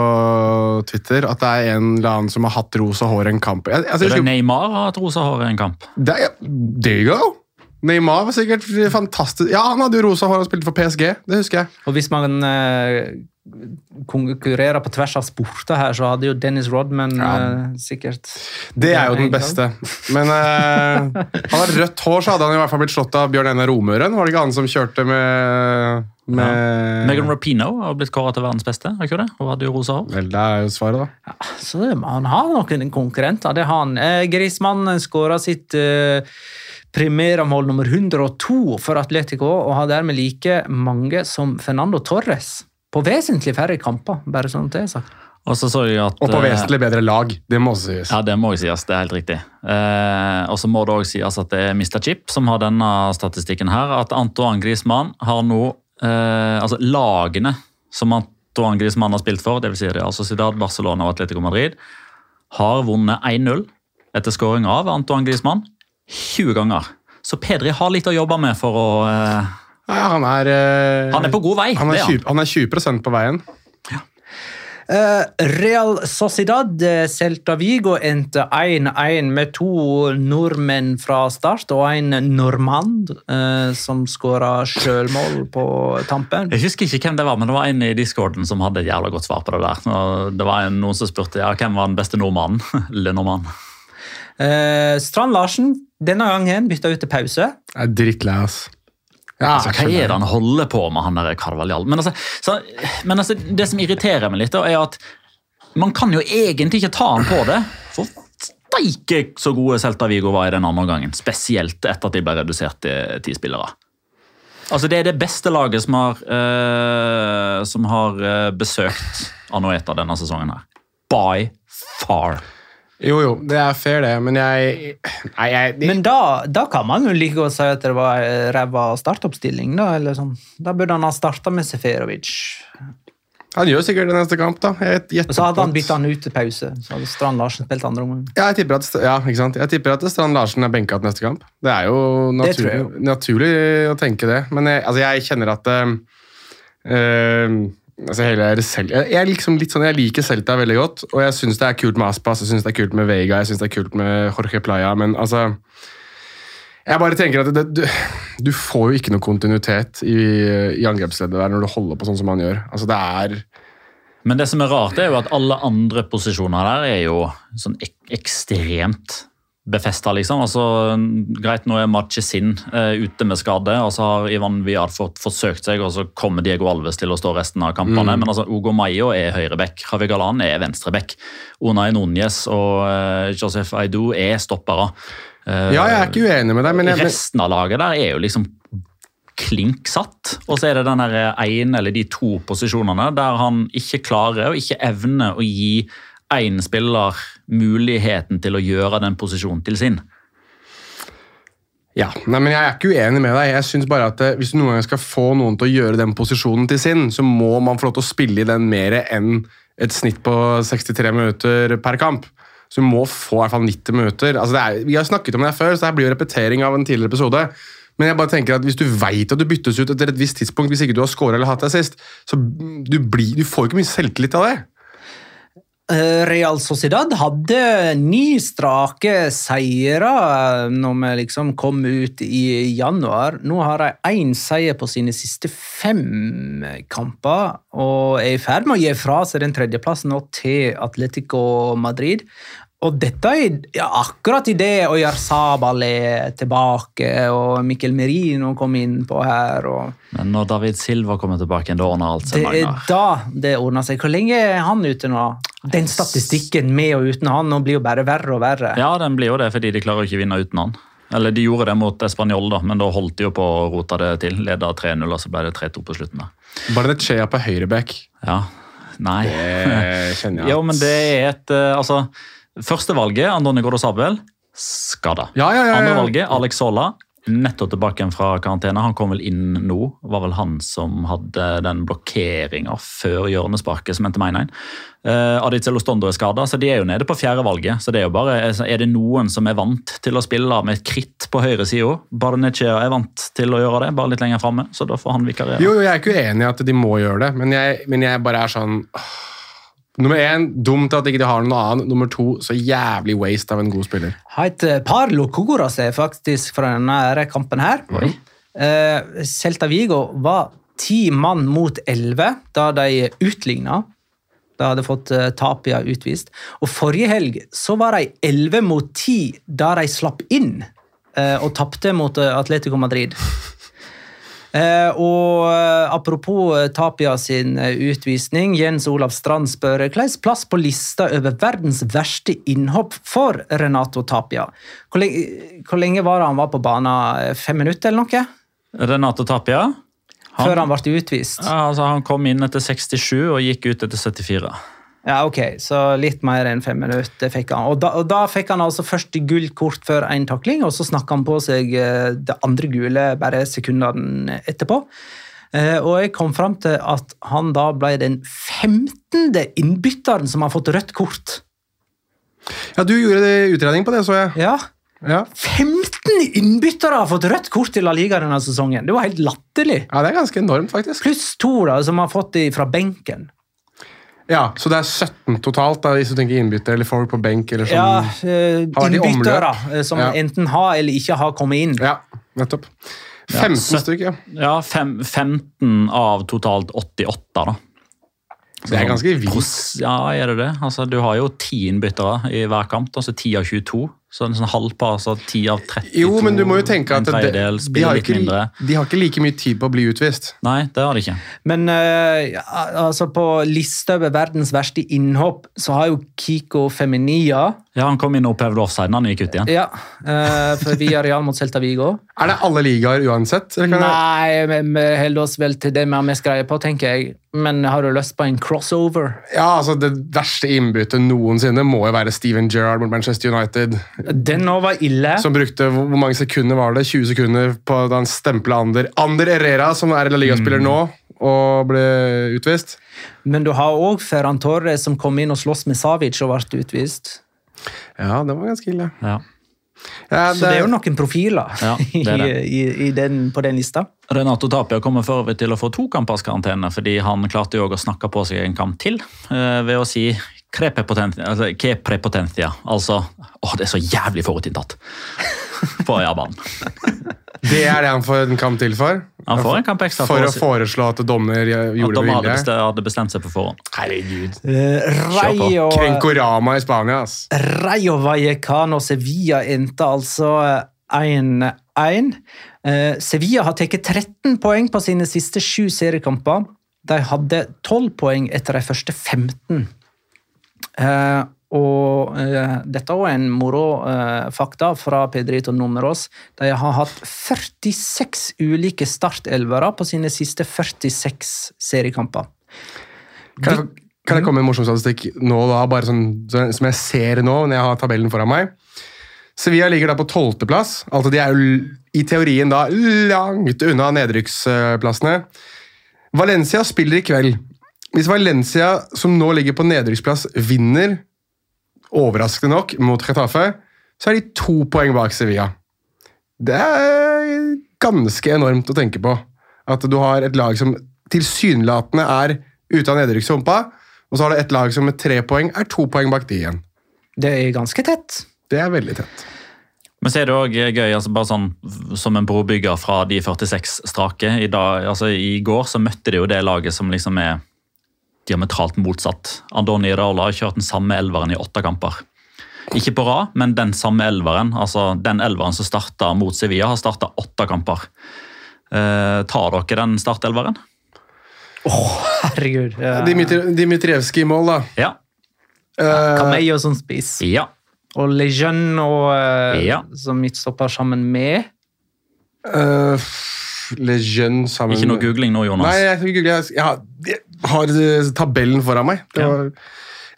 Twitter at det er en eller annen som har hatt rosa hår i en kamp. Jeg, altså, jeg,
Eller
husker-
Neymar har hatt rosa hår i en kamp.
det, er- there you go! Neymar var sikkert fantastisk Ja, han hadde jo rosa hår og spilte for PSG. Det husker jeg.
Og hvis man eh, konkurrerer på tvers av sporter her, så hadde jo Dennis Rodman
Ja.
eh, sikkert
Det er
Ja,
jo den
ikke
beste. <laughs> Men eh, han har rødt hår, så hadde han i hvert fall blitt slått av Bjørn Einar Romøren. Var det ikke han som kjørte med, med
Megan Rapino har blitt kåra til verdens beste. har ikke det? Hun hadde jo rosa hår.
Vel, det er jo svaret, da.
Så det- han har noen konkurrenter, det har han. Eh, Grismann skåra sitt eh, primærmål nummer 102 for Atletico, og har dermed like mange som Fernando Torres. På vesentlig færre kamper, bare sånn at det er sagt.
Og så så jeg at...
Og på
eh,
vesentlig bedre lag. Det må også sies.
Ja, det må jo sies. Det er helt riktig. Eh, og så må det òg sies at det er Mr. Chip som har denne statistikken her. At Antoine Griezmann har nå eh, Altså lagene som Antoine Griezmann har spilt for, dvs. Si Real Sociedad, Barcelona og Atletico Madrid, har vunnet 1-0 etter skåring av Antoine Griezmann 20 ganger. Så Pedri har litt å jobbe med for å eh,
Nei, han er eh,
Han er på god vei!
han er
det er han.
20, han er 20 på veien.
Eh, Real Sociedad eh, Celta Vigo endte 1-1 med to nordmenn fra start og en normand eh, som skåra sjølmål på tampen.
Jeg husker ikke hvem det var, men det var en i Discorden som hadde et jævla godt svar på det der. Og det var en, noen som spurte ja, hvem var den beste nordmannen. <laughs> Le nordmann.
Eh, Strand Larsen denne gangen bytta ut til pause.
Jeg er drittlei, ass. Ja,
Altså, hva er det han holder på med, han der Carvalhal? Men, altså, så, men altså, det som irriterer meg litt, da, er at man kan jo egentlig ikke ta han på det. For steike så gode Celta Vigo var i den andre omgangen. Spesielt etter at de ble redusert til ti spillere. Altså, det er det beste laget som har, eh, som har eh, besøkt Anoeta denne sesongen her. By far.
Jo, jo, det er fair, det, men jeg Nei, jeg
Men da, da kan man jo like godt si at det var eh, ræva startoppstilling. Da eller sånn. Da burde han ha starta med Seferovic.
Han gjør sikkert det neste kamp, da. Jeg, gjetter
Og så hadde
på
han
at-
bytta han ut til pause. Så hadde Strand Larsen spilt andre omgang.
Ja, jeg tipper at, St- ja, ikke sant? Jeg tipper at Strand Larsen er benka til neste kamp. Det er jo
Det tror
naturlig,
jeg
naturlig å tenke det. Men jeg, altså, jeg kjenner at eh, eh, altså, hele Sel- jeg, jeg, er liksom litt sånn, jeg liker Celta veldig godt, og jeg syns det er kult med Aspas, jeg syns det er kult med Vega, jeg syns det er kult med Jorge Playa, men altså jeg bare tenker at det, du, du får jo ikke noe kontinuitet i, i angrepsleddet der når du holder på sånn som han gjør. Altså, det er...
Men det som er rart, er jo at alle andre posisjoner der er jo sånn ek ekstremt befesta, liksom. Altså, greit, nå er Marchesin eh, ute med skade, og så har Ivan Viard fått forsøkt seg, og så kommer Diego Alves til å stå resten av
Mm.
kampene. Men altså, Ugo Mayo er høyreback, Javi Galan er venstreback. Unai Núñez og eh, Josef Aidu er stoppere. Eh,
Ja, jeg er ikke uenig med deg, men... Jeg, men
Resten av laget der er jo liksom klink satt. Og så er det den der ene eller de to posisjonene der han ikke klarer og ikke evner å gi én spiller muligheten til å gjøre den posisjonen til sin.
Ja, nei, men Jeg er ikke uenig med deg. Jeg synes bare at eh, Hvis du noen gang skal få noen til å gjøre den posisjonen til sin, så må man få lov til å spille i den mer enn et snitt på 63 minutter per kamp. Så du må få i hvert fall 90 minutter. Altså, det er, vi har snakket om det her før, så det her blir jo repetering av en tidligere episode. Men jeg bare tenker at hvis du veit at du byttes ut etter et visst tidspunkt, hvis ikke du har scora eller hatt deg sist, så du, blir, du får ikke mye selvtillit av det.
Eh, Real Sociedad hadde ni strake seire eh, når vi liksom kom ut i januar. Nå har de én seier på sine siste fem kamper og er i ferd med å gi fra seg den tredjeplassen nå til Atletico Madrid. Og dette er ja, akkurat idet Oyarzabal er tilbake og Mikkel Merino kom inn på her. og...
Men når David Silva kommer tilbake, igjen, da ordner alt
Det
seg.
er
Magnar.
da det ordner seg. Hvor lenge er han ute nå? Den statistikken med og uten han nå blir jo bare verre og verre.
Ja, den blir jo det, fordi de klarer jo ikke å vinne uten han. Eller de gjorde det mot Español, da, men da holdt de jo på å rote det til. Leda 3-0, og så ble det 3-2 på slutten. da.
Barnechea på <laughs> høyreback.
Ja, nei.
Det Eh, kjenner jeg
Jo,
at-
men det er et eh, Altså, førstevalget, Andoni Gordo Sabel, skada.
Ja, ja, ja, ja.
Andrevalget, Alex Sola, nettopp tilbake igjen fra karantene. Han kom vel inn nå. Var vel han som hadde den blokkeringa før hjørnesparket som endte med 1-1. Uh, Aditzelo Stondo er skada, så de er jo nede på fjerdevalget. Så det er jo bare altså, Er det noen som er vant til å spille med et kritt på høyresida? Barnechea er vant til å gjøre det, bare litt lenger framme, så da får han vikarere.
Jo, jo, jeg er ikke uenig i at de må gjøre det, men jeg, men jeg bare er sånn åh. Nummer én, dumt at ikke de har noen annen. Nummer to, så jævlig waste av en god spiller.
Han heter Parlo Kogoras er faktisk fra denne her kampen her. Eh, Celta Vigo var ti mann mot elleve da de utligna. Da hadde fått eh, Tapia utvist. Og forrige helg så var de elleve mot ti da de slapp inn eh, og tapte mot eh, Atletico Madrid. Eh, og eh, apropos eh, Tapia sin eh, utvisning, Jens Olav Strand spør hvilken plass på lista over verdens verste innhopp for Renato Tapia. Hvor lenge, hvor lenge var det han var på banen? Eh, Fem minutter eller noe?
Renato Tapia. Han-
Før han ble utvist?
Ja, altså Han kom inn etter 67 og gikk ut etter 74.
Ja, ok, så litt mer enn fem minutter fikk han. Og da, og da fikk han altså først gult kort før én takling, og så snakka han på seg eh, det andre gule bare sekundene etterpå. Eh, Og jeg kom fram til at han da ble den 15. innbytteren som har fått rødt kort.
Ja, Du gjorde det utredning på det, så jeg.
Ja,
Ja,
15 innbyttere har fått rødt kort i La Liga denne sesongen! Det var helt latterlig.
ja Det er ganske enormt, faktisk.
Pluss to da, som har fått det fra benken.
Ja, Så det er 17 totalt, da, hvis du tenker innbytter eller folk på benk. eller sånn.
Ja, eh,
Har de
innbyttere eh, som
Ja.
enten har eller ikke har kommet inn.
Ja, nettopp. 15
så-
stykker, ja.
Ja, fem, 15 av totalt 88, da.
Det er ganske vilt.
Pros- Ja, er det det? Altså, du har jo ti innbyttere i hver kamp, da, så 10 av 22. Så en sånn halvpar, så 10 av 32.
Jo, men du må jo tenke at
en
det,
tredjedel
de,
spiller
har
litt
ikke,
mindre.
de har ikke like mye tid på å bli utvist.
Nei, det har de ikke.
Men eh, ja, altså på lista over verdens verste innhopp så har jo Kiko Feminia
Ja, Han kom inn og opphevde offsiden, han gikk ut igjen.
Ja, eh, for vi er real mot Celta Vigo.
Er det alle ligaer uansett? Eller kan jeg-
Nei, men vi holder oss vel til det vi har mest greie på, tenker jeg. Men har du lyst på en crossover?
Ja, altså Det verste innbyttet noensinne må jo være Steven Gerrard mot Manchester United.
Den nå var ille.
Som brukte hvor hvor mange sekunder var det? 20 sekunder på da han stempla Ander Ander Herrera, som er La Liga-spiller nå, og ble utvist.
Men du har òg Ferran Torres som kom inn og sloss med Savic og ble utvist.
Ja, det var ganske ille.
Ja.
Ja,
Så det er jo noen profiler
Ja, det er
<laughs>
det.
I, i, i den, på den lista.
Renato Tapia kommer for øvrig til å få to kampers karantene, fordi han klarte jo å snakke på seg en kamp til eh, ved å si «Kre prepotentia», altså, «Ke prepotentia», altså Åh, det er så jævlig forutinntatt! <laughs> På Japan.
Det er det han får en kamp til for.
Han får en kamp ekstra
For
for
å
å-
foreslå at dommer gjorde
At
det
de hadde
vilje.
bestemt, hadde bestemt seg på forhånd.
Herregud.
Eh, på.
Rayo,
Krenkorama i Spania, ass.
Rayo Vallecano Sevilla endte altså 1-1. Eh, Sevilla har tatt 13 poeng på sine siste sju seriekamper. De hadde 12 poeng etter de første 15. Eh, og eh, dette er også en moro eh, fakta fra Pedrito Numeros. De har hatt 46 ulike startelvere på sine siste 46 seriekamper.
Kan jeg, kan jeg komme med en morsom statistikk nå, da, bare sånn, så- som jeg ser nå når jeg har tabellen foran meg? Sevilla ligger da på tolvteplass. Altså, de er jo l- i teorien da langt unna nedrykksplassene. Valencia spiller i kveld. Hvis Valencia, som nå ligger på nedrykksplass, vinner, overraskende nok, mot Retafe, så er de to poeng bak Sevilla. Det er ganske enormt å tenke på. At du har et lag som tilsynelatende er ute av nedrykkshumpa, og så har du et lag som med tre poeng er to poeng bak de igjen.
Det er ganske tett.
Det er veldig tett.
Men så er det òg gøy, altså bare sånn som en brobygger fra de 46 strake. I, dag, altså I går så møtte de jo det laget som liksom er diametralt motsatt. Andoni Raola har kjørt den samme elveren i åtte kamper. Ikke på rad, men den samme elveren. Altså den elveren som starta mot Sevilla, har starta åtte kamper. Eh, tar dere den startelveren?
Herregud. eh,
Dimitri- eh, Dimitrievskij i mål, da.
Ja.
Camello som spiss.
Ja.
Og Lejeune og, eh,
Ja.
som midtstopper sammen med
Uh, Lejeune sammen
Ikke noe googling nå, Jonas.
Mm. Nei, jeg, skal ikke google. jeg, jeg har- jeg har eh, tabellen foran meg. Det
Ja.
var,
Men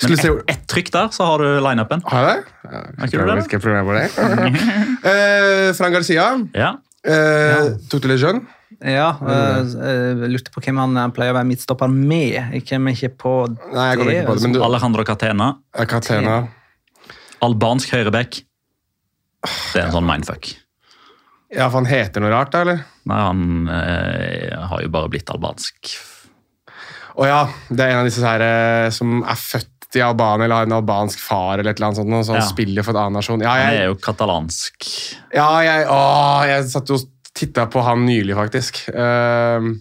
skulle se hvor-
ett et trykk der, så har du lineupen.
Har jeg det? Ja,
ikke du det, da?
Skal jeg programmere det? <laughs> Eh, Fran Garcia.
Ja.
Uh, Tok du Lejeune?
Ja, eh, eh, lurte på hvem han eh, pleier å være midtstopper med. Jeg kommer ikke på
Nei, jeg kommer ikke på det. Men du,
Alejandro Catena.
Catena.
Albansk høyreback. Det er en sånn mindfuck.
Ja, for han heter noe rart, da, eller?
Nei, han eh, har jo bare blitt albansk.
Å ja, det er en av disse her, eh, som er født i Albania eller har en albansk far, eller et eller annet sånt, og
Ja.
så han spiller for en annen nasjon. Ja,
Han er
jeg,
jo katalansk.
ja, jeg, å, jeg satt jo og titta på han nylig, faktisk. Ehm,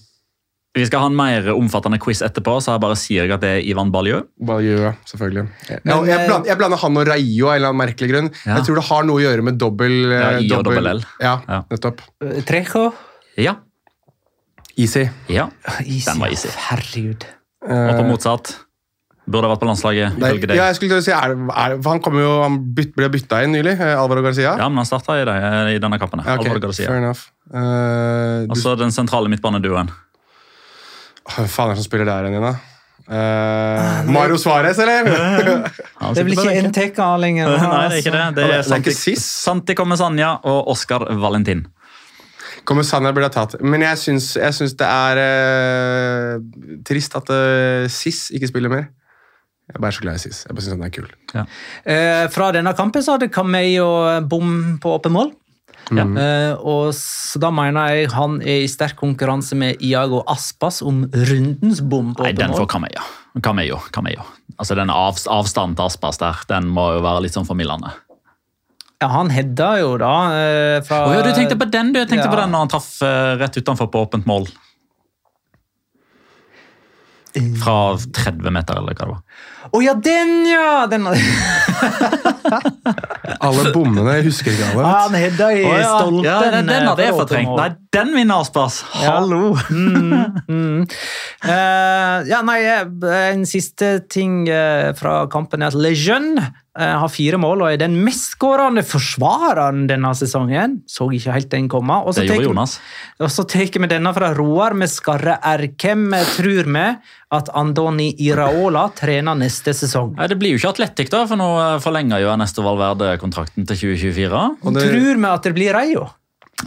Vi skal ha en mer omfattende quiz etterpå, så jeg bare sier jeg at det er Ivan Baljø.
bare gjør jeg, selvfølgelig. Jeg,
Men,
jeg,
eh,
blander, jeg blander han og Rayo av en eller annen merkelig grunn.
Ja.
Jeg tror det har noe å gjøre med dobbel
Ja,
eh,
I og
dobbel-
dobbel L.
Ja,
Ja.
nettopp.
Eh, Trejo.
Ja.
Easy.
ja.
Easy.
Den var easy.
Herregud.
Og på motsatt. Burde ha vært på landslaget,
Eh, Nei,
ifølge deg.
ja, jeg skulle til å si, er, det- er, det- for Han kom jo, han byt, ble bytta inn nylig, eh, Alvaro Garcia.
Ja, men han starta i, det- i denne kampen.
Ja,
Okay,
ok,
Alvaro Garcia.
Fair enough. Eh,
Og
du,
så den sentrale midtbaneduoen.
Hvem faen er det som spiller der igjen, da?
Ah,
Eh, Mario Suárez,
<laughs>
eller?
Han
Det er vel
sitter på
ikke
benken.
en teka
<laughs>
lenger? altså. nå,
Nei, det er ikke det. Det
altså.
er
Det er
Santi,
ikke Sis.
Santi Comesania og Oscar Valentin.
Kommer Sanner burde ha tatt. Men jeg syns, jeg syns det er eh, trist at eh, Sis ikke spiller mer. Jeg er bare så glad i Sis. Jeg bare syns han er kul.
Eh, fra denne kampen så hadde Camello eh, bom på åpen mål. Eh, og så da mener jeg han er i sterk konkurranse med Iago Aspas om rundens bom på
Nei,
åpen
den
mål.
får Kameya. Cameo. Cameo. Altså den avs avstanden til Aspas der, den må jo være litt sånn formildende.
Ja, han hedda jo, da. eh, Fra
Å ja, du tenkte på den du Jeg tenkte
Ja.
på den når han traff eh, rett utenfor på åpent mål. Fra 30 meter, eller hva det var.
Å ja, den, ja! Den...
<laughs>
Alle bommene jeg husker ikke alle.
Ah,
Han hedda i
Å ja.
stolpen.
ja, den, den
eh,
hadde jeg
på
fortrengt.
åpen mål.
Nei, den vinner Aspas!
Ja.
Hallo!
Mm, mm. Eh, ja, nei, eh, en siste ting eh, fra kampen er at Le Jeune eh, har fire mål og er den mestskårende forsvareren denne sesongen. Så ikke helt den komme. Og så
Det gjorde
tek-
Jonas.
og så tar vi denne fra Roar med Skarre R. Hvem eh, tror vi at Andoni Iraola trener neste sesong?
Nei, Det blir jo ikke Atletic, da, for nå eh, forlenger jo Ernesto Valverde kontrakten til 2024.
Og det-
Tror vi at det blir Reio?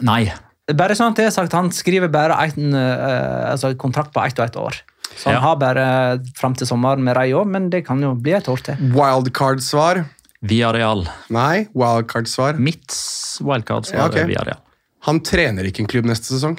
Nei.
Bare sånn at det er sagt, Han skriver bare en, eh, altså kontrakt på ett og ett år. Så han
Ja.
har bare fram til sommeren med Reio, men det kan jo bli et år til.
Wildcard-svar?
Villarreal.
Nei, wildcard-svar.
Mitt s- wildcard så
Ja,
var det
ok.
Villarreal.
Han trener ikke en klubb neste sesong.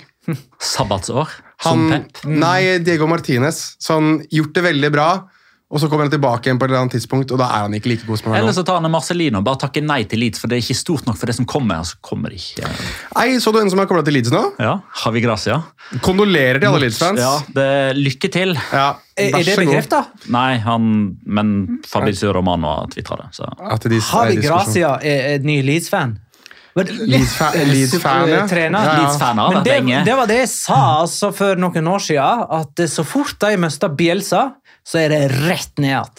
Sabbatsår. Som
Han,
Pep. Mm.
nei, Diego Martinez. Så han gjort det veldig bra, og så kommer han tilbake igjen på et eller annet tidspunkt, og da er han ikke like god som han er
Eller
nå.
så tar han en Marcelino. Bare takker nei til Leeds, for det er ikke stort nok for det som kommer. Så kommer det ikke.
Ei, så du en som har kobla til Leeds nå?
Ja, Har vi gracia?
Kondolerer til alle Leeds-fans.
Ja, det, lykke til.
Ja,
Er,
vær
er det
så god.
bekrefta?
Nei, han, men Fabrizio Romano har tvitra det. Så.
At de-
Har vi
er i diskusjon.
Gracia er en ny Leeds-fan? <laughs>
Leeds-fa- Leeds-fan, ja.
Trener.
Ja, ja.
Leeds-faner har
Men
vært
det,
lenge.
det var det jeg sa altså for noen år siden, at så fort de mister Bielsa, så er det rett ned igjen.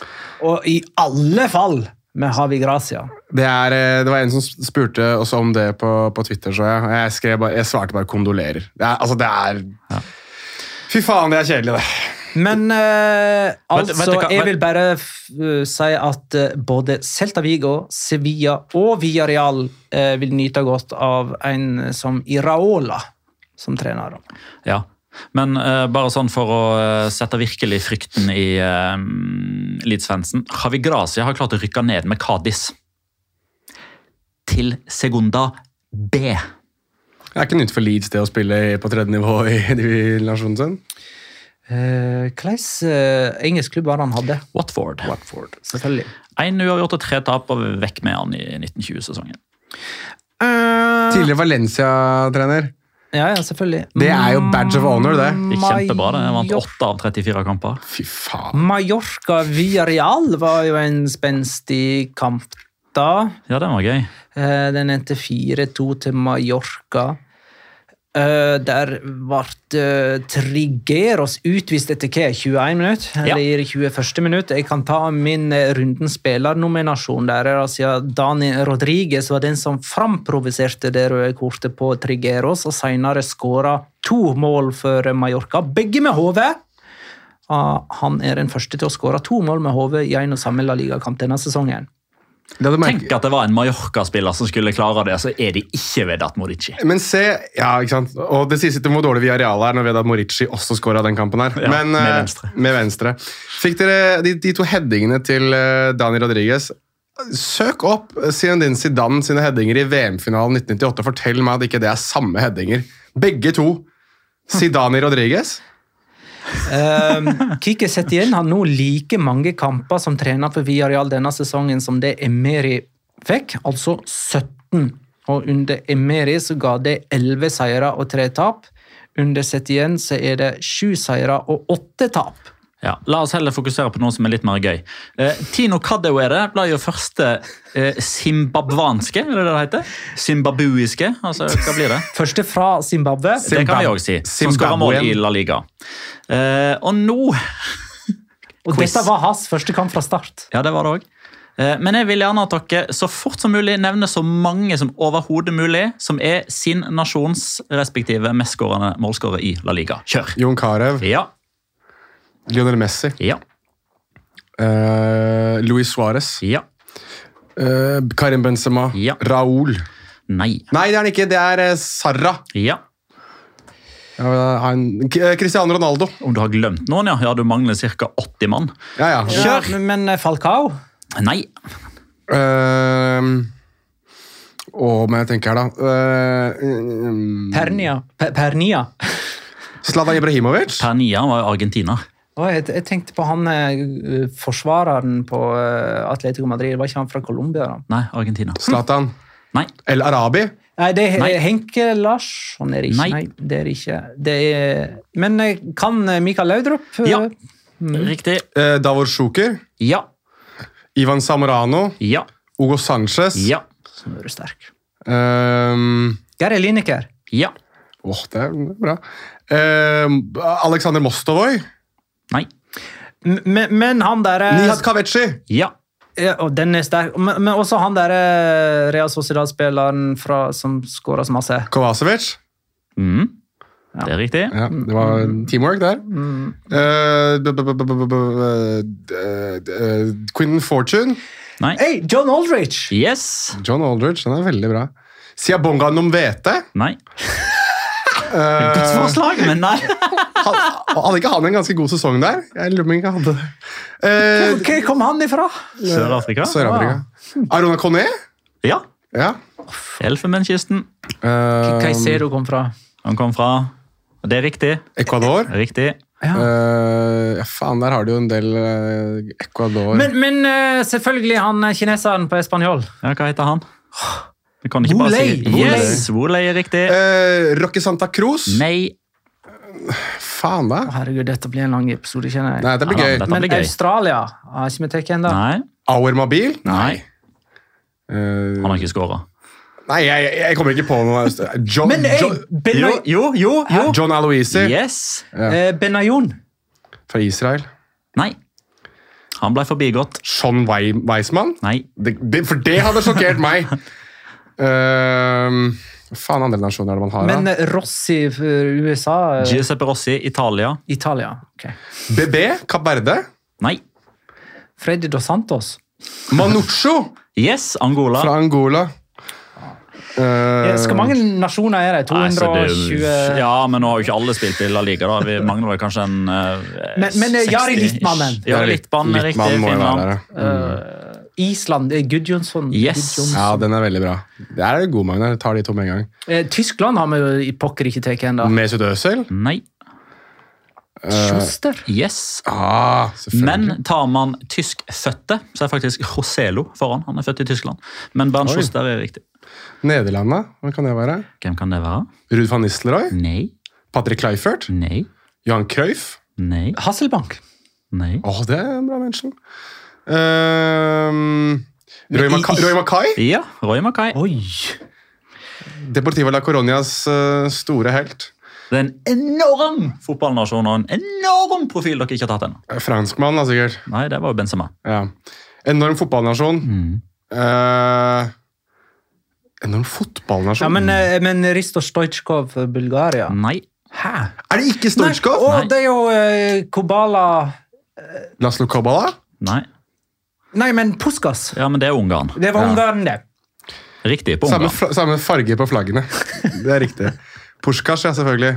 Og i alle fall med Havi Gracia.
Det, er, eh, det var en som spurte også om det på, på Twitter, så jeg. Og Jeg, skrev bare, jeg svarte bare 'kondolerer'. Det er, altså, det er Fy faen, det er kjedelig, det.
Men eh,
Vet- vet
altså,
du hva-
jeg vil bare f- eh, si at eh, både Celta Vigo, Sevilla og Villarreal eh, vil nyte godt av en som Iraola som trener.
Ja. Men eh, bare sånn for å eh, sette virkelig frykten i uh, Leeds-fansen. Javi Gracia har klart å rykke ned med Cádiz til Segunda B.
Det er ikke nytt for Leeds det å spille i- på tredje nivå i divisjonen sin.
Eh, Hvordan eh, engelsk klubb var det han hadde?
Watford. Watford.
Selvfølgelig.
Én uavgjort og tre tap, og vekk med han i 1920-sesongen.
Tidligere Valencia-trener.
ja, ja, selvfølgelig.
Det er jo badge of honor, det.
Gikk kjempebra. det. Han vant
Major-
åtte av 34 kamper.
Fy
Mm.
faen.
Mallorca Villarreal var jo en spenstig kamp da.
Ja, den var gøy.
Eh, Den endte 4-2 til Mallorca. Eh, Der ble Trigeros utvist etter hva? 21 minutter?
Ja.
Eller 21. minutt? Jeg kan ta min eh, runden spillernominasjon der. eh, Siden Dani Rodriguez var den som framprovoserte det røde kortet på Trigeros, og senere skåra to mål for eh, Mallorca, begge med hodet. Ah, Han er den første til å skåre to mål med hodet i en og samme La Liga-kamp denne sesongen.
Det hadde merket-
Tenk at det var en Mallorca-spiller som skulle klare det, så er det ikke Vedat Morici.
Men se Ja, ikke sant. Og det sies ikke hvor dårlig Villarreal er når Vedat Morici også scora den kampen her.
Ja,
Men,
med
eh,
venstre.
med venstre. Fikk dere de, de to headingene til eh, Dani Rodriguez? Søk opp Zinedine Zidane sine headinger i VM-finalen 1998 og fortell meg at ikke det er samme headinger. Begge to. Zidane Rodriguez.
Um, Kiki Setien har nå like mange kamper som trener for Villarreal denne sesongen som det Emery fikk, altså 17. Og under Emery så ga det 11 seire og 3 tap. Under Setien så er det 7 seire og 8 tap.
Ja, La oss heller fokusere på noe som er litt mer gøy. Eh, Tino Kadewere ble jo første eh, zimbabwanske, er det det det heter? Zimbabuiske, altså hva blir det?
Første fra Zimbabwe.
Det kan vi òg si. Som skåra mål i La Liga. Eh, og nå
Og
quiz.
dette var hans første kamp fra start.
Ja, det var det òg. Men jeg vil gjerne at dere så fort som mulig nevner så mange som overhodet mulig som er sin nasjons respektive mestskårende målskårer i La Liga. Kjør!
Jon Carew,
Ja.
Lionel Messi,
Ja.
eh, Luis Suárez,
Ja.
eh, Karim Benzema,
Ja.
Raúl
Nei.
Nei, det er han ikke. Det er eh, Sarra.
Ja.
Ja, han- K- eh, Cristiano Ronaldo.
Om du har glemt noen, ja. Ja, du mangler ca. 80 mann.
Ja, ja.
Ja, men- men eh, Falcao
Nei.
Ehm, Åh, men jeg tenker her, da. Ehm,
Pernia. Per Pernia.
Zlatan Ibrahimovic.
Pernia var jo argentiner.
Å Og Jeg, jeg tenkte på han eh, forsvareren på eh, Atletico Madrid. Var ikke han fra Colombia? da?
Nei, Argentina.
Zlatan.
Nei.
El Arabi.
Nei, det er
Nei.
Henke Larsson er det ikke.
Nei.
Nei. det er det ikke. Det er, men eh, kan eh, Mikael Laudrup eh,
Ja. Riktig.
Eh, Davor Sjuker.
Ja.
Ivan Samorano.
Ja.
Hugo Sanchez.
Ja.
Så er du sterk.
Ehm,
Geir Lineker.
Ja.
Åh, det er bra. Ehm, Alexander Mostovoi.
Nei.
M- Men, men han derre
Nihat Kaveci.
Ja.
Ja, og den er sterk. Men, men også han derre Real Sociedad-spilleren fra- som skåra så masse.
Kovacevic.
Mm. Det er riktig.
Ja, det var teamwork der. Eh, b- b- b- b- b- b- eh, d- eh, Quentin Fortune.
Nei.
Hey, John Aldrich!
Yes.
John Aldridge, den er veldig bra. Siabonga Nomvete.
Nei. Godt
Uh,
forslag, men nei.
hadde ikke han en ganske god sesong der? Jeg lurer på om ikke han hadde det. Eh,
Hvor kom han ifra?
Sør-Afrika?
Sør-Afrika. Arona Kone?
Ja.
Ja.
Elfenbenskysten. Um,
Eh,
Caicedo kom fra.
Han kom fra Det er riktig.
Ecuador.
Riktig.
Eh, ja, faen, der har du jo en del eh, Ecuador
Men, men eh, selvfølgelig han eh, kineseren på espanjol.
Ja, hva heter han? Du kan ikke bare
Wolei.
si Yes! Wolei er riktig.
Eh, Rocky Santa Cruz?
Nei.
Faen, da.
Å, Herregud, dette blir en lang episode, kjenner jeg.
Nei, det blir
Ja,
gøy.
dette-
Men
blir gøy.
Australia har ikke vi tatt ennå.
Nei.
Auer Mabil?
Nei.
Eh,
Han har ikke skåra.
Nei, jeg, jeg- jeg kommer ikke på noe. John,
Men hey,
John,
Jo,
Benayoun
jo, jo! jo.
John Aloisi
Yes!
eh, Benayoun.
fra Israel.
Nei. Han ble forbigått.
Sean Wei- Weisman?
Nei.
Det, det, for det hadde sjokkert meg! Ehm, Hva faen andre nasjoner er det man har?
Men
da?
eh, Rossi for USA. eh,
Giuseppe Rossi, Italia.
Italia. ok.
BB? Kapp Verde?
Nei.
Freddy Dos Santos.
Manucho
Yes, Angola.
fra Angola.
Eh,
Eh,
Skal mange nasjoner er det?
Nei, så det er
220
jo- Ja, men nå har jo ikke alle spilt i La Liga, da. Vi mangler vel kanskje en eh,
Men- men, eh, Jari
60 -ish.
Littmannen.
Jari
Litt-
Littmannen er riktig.
Littmann må jo være
Finland.
der, ja.
Island, eh, Gudjonsson.
Yes.
Gudjonsson.
Ja, den er veldig bra. Der er du god, Magnar. Tar de to med en gang.
Eh, Tyskland har vi jo i pokker ikke tatt ennå.
Mm.
Mesut Özil?
Mm.
Nei.
Schuster.
Yes.
Ah, Eh, selvfølgelig.
Men tar man tyskfødte, så er faktisk Roselo foran. Han er født i Tyskland. Men Bernt Schuster er riktig.
Nederlanda? Hvem kan det være?
Hvem kan det være?
Ruud van Nistelrooy?
Nei,
Patrick Kleifert?
nei,
Johan Cruyff?
nei,
Hasselbank.
nei.
Åh, det er en bra mention. Ehm, Roy,
Men i-
Maca Roy Mackay,
Ja, Roy Mackay.
Oi!
Deportivo la Coronias eh, store helt.
Det er en enorm fotballnasjon og en enorm profil dere ikke har tatt ennå.
Eh, Franskmann, da, sikkert.
Nei, det var jo Benzema.
Ja. Enorm fotballnasjon.
Mm.
Eh, enorm fotballnasjon?
Ja, men, eh, men Risto Stojkov, Bulgaria.
Nei.
Hæ?
Er det ikke
Nei,
Storskov?
å,
Mm. Nei.
det er jo eh, Kobala
Laszlo Kobala?
Nei.
Nei, men Puskas.
Ja, men det er Ungarn.
Det var
Ja.
Ungarn, det.
Riktig på
Samme,
Ungarn.
fra- samme farge på
<laughs>
flaggene. Det er riktig. Pusjkas, ja, selvfølgelig.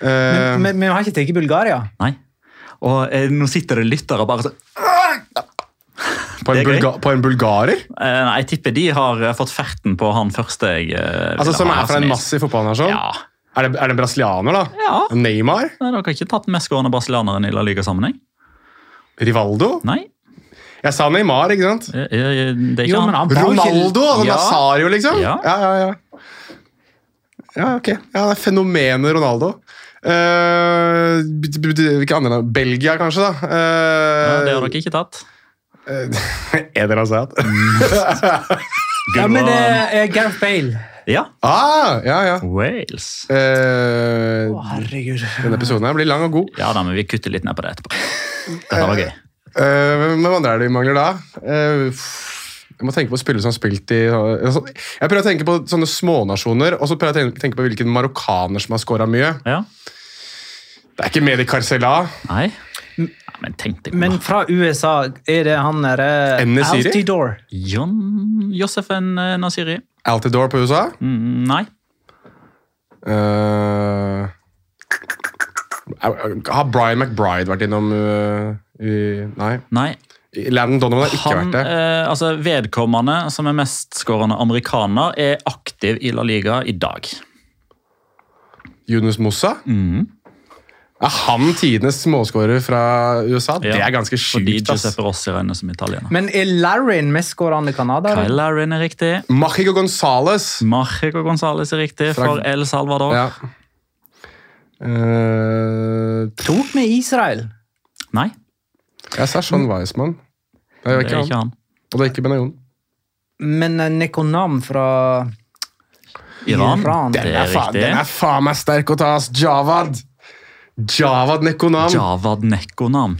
Eh,
Men men vi har ikke tatt Bulgaria.
Nei. Og eh, nå sitter det lyttere bare sånn
på, en
det er gøy.
bulga på en bulgarer?
eh, Nei, jeg tipper de har eh, fått ferten på han første jeg eh,
Altså,
ville
Som
ha
er fra en
som
massiv fotballnasjon?
Ja.
Er, det, er det en brasilianer, da?
Ja.
Neymar?
Nei, dere har ikke tatt den mestskårende brasilianeren i La Liga-sammenheng?
Rivaldo?
Nei.
Jeg sa Neymar, ikke sant?
eh, eh, Det er ikke
Jo, men han
han.
var jo ikke-
Ronaldo! Altså
Ja.
Nazario, liksom?
Ja.
ja, ja. ja. Ja, ok. Ja, det er fenomenet Ronaldo. Eh, b- b- b- hvilke andre land? Belgia, kanskje? da?
Ja,
Eh,
det
<laughs>
har dere ikke tatt.
Er dere altså at?
Ja, men det
Gudbrand-
er Gareth Bale.
ja.
Ah, ja, ja.
Wales.
Å,
Eh,
herregud.
denne episoden her blir lang og god.
Ja da, men vi kutter litt ned på det etterpå. Dette var gøy.
Eh, hvem hvem andre er det vi mangler da? Eh, pff, jeg må tenke på spillere som har spilt i altså, Jeg prøver å tenke på sånne smånasjoner, og så prøver jeg å tenke- tenke på hvilken marokkaner som har scora mye.
Ja.
Det er ikke Medi Carcella.
Nei. Ja, men tenk deg om
Men
da.
fra USA er det han eh, derre
Enesiri?
Altidore.
John Josefen eh, Nasiri.
Altidore på USA.
Mm, nei.
Eh, har Brian McBride vært innom eh, i, Nei.
Nei.
Landon Donovan har ikke
Han,
vært det.
eh, altså Vedkommende som er mestskårende amerikaner, er aktiv i La Liga i dag. Mm.
Yunus Mossa. Er han tidenes målskårer fra USA?
Ja,
Det er ganske
Fordi
sjukt. ass.
Giuseppe Rossi regnes som italiener.
Men er Larrin mestskårende canadier?
Kyle Larin er riktig.
Machico
Mm.
Gonzales.
Marco Gonzales er riktig
Fra-
for El Salvador.
Ja. Eh,
Tok med Israel.
Nei,
jeg sa Sean Weismann. Det
det
er
er
ikke
ikke
han.
han.
Og det er ikke Benayoun.
Men eh, Nekonam fra
Iran.
Iran.
Det
Den
er
er, faen,
riktig.
den er faen meg sterk å ta, ass! Javad! Javad Nekonam.
Javad Nekonam.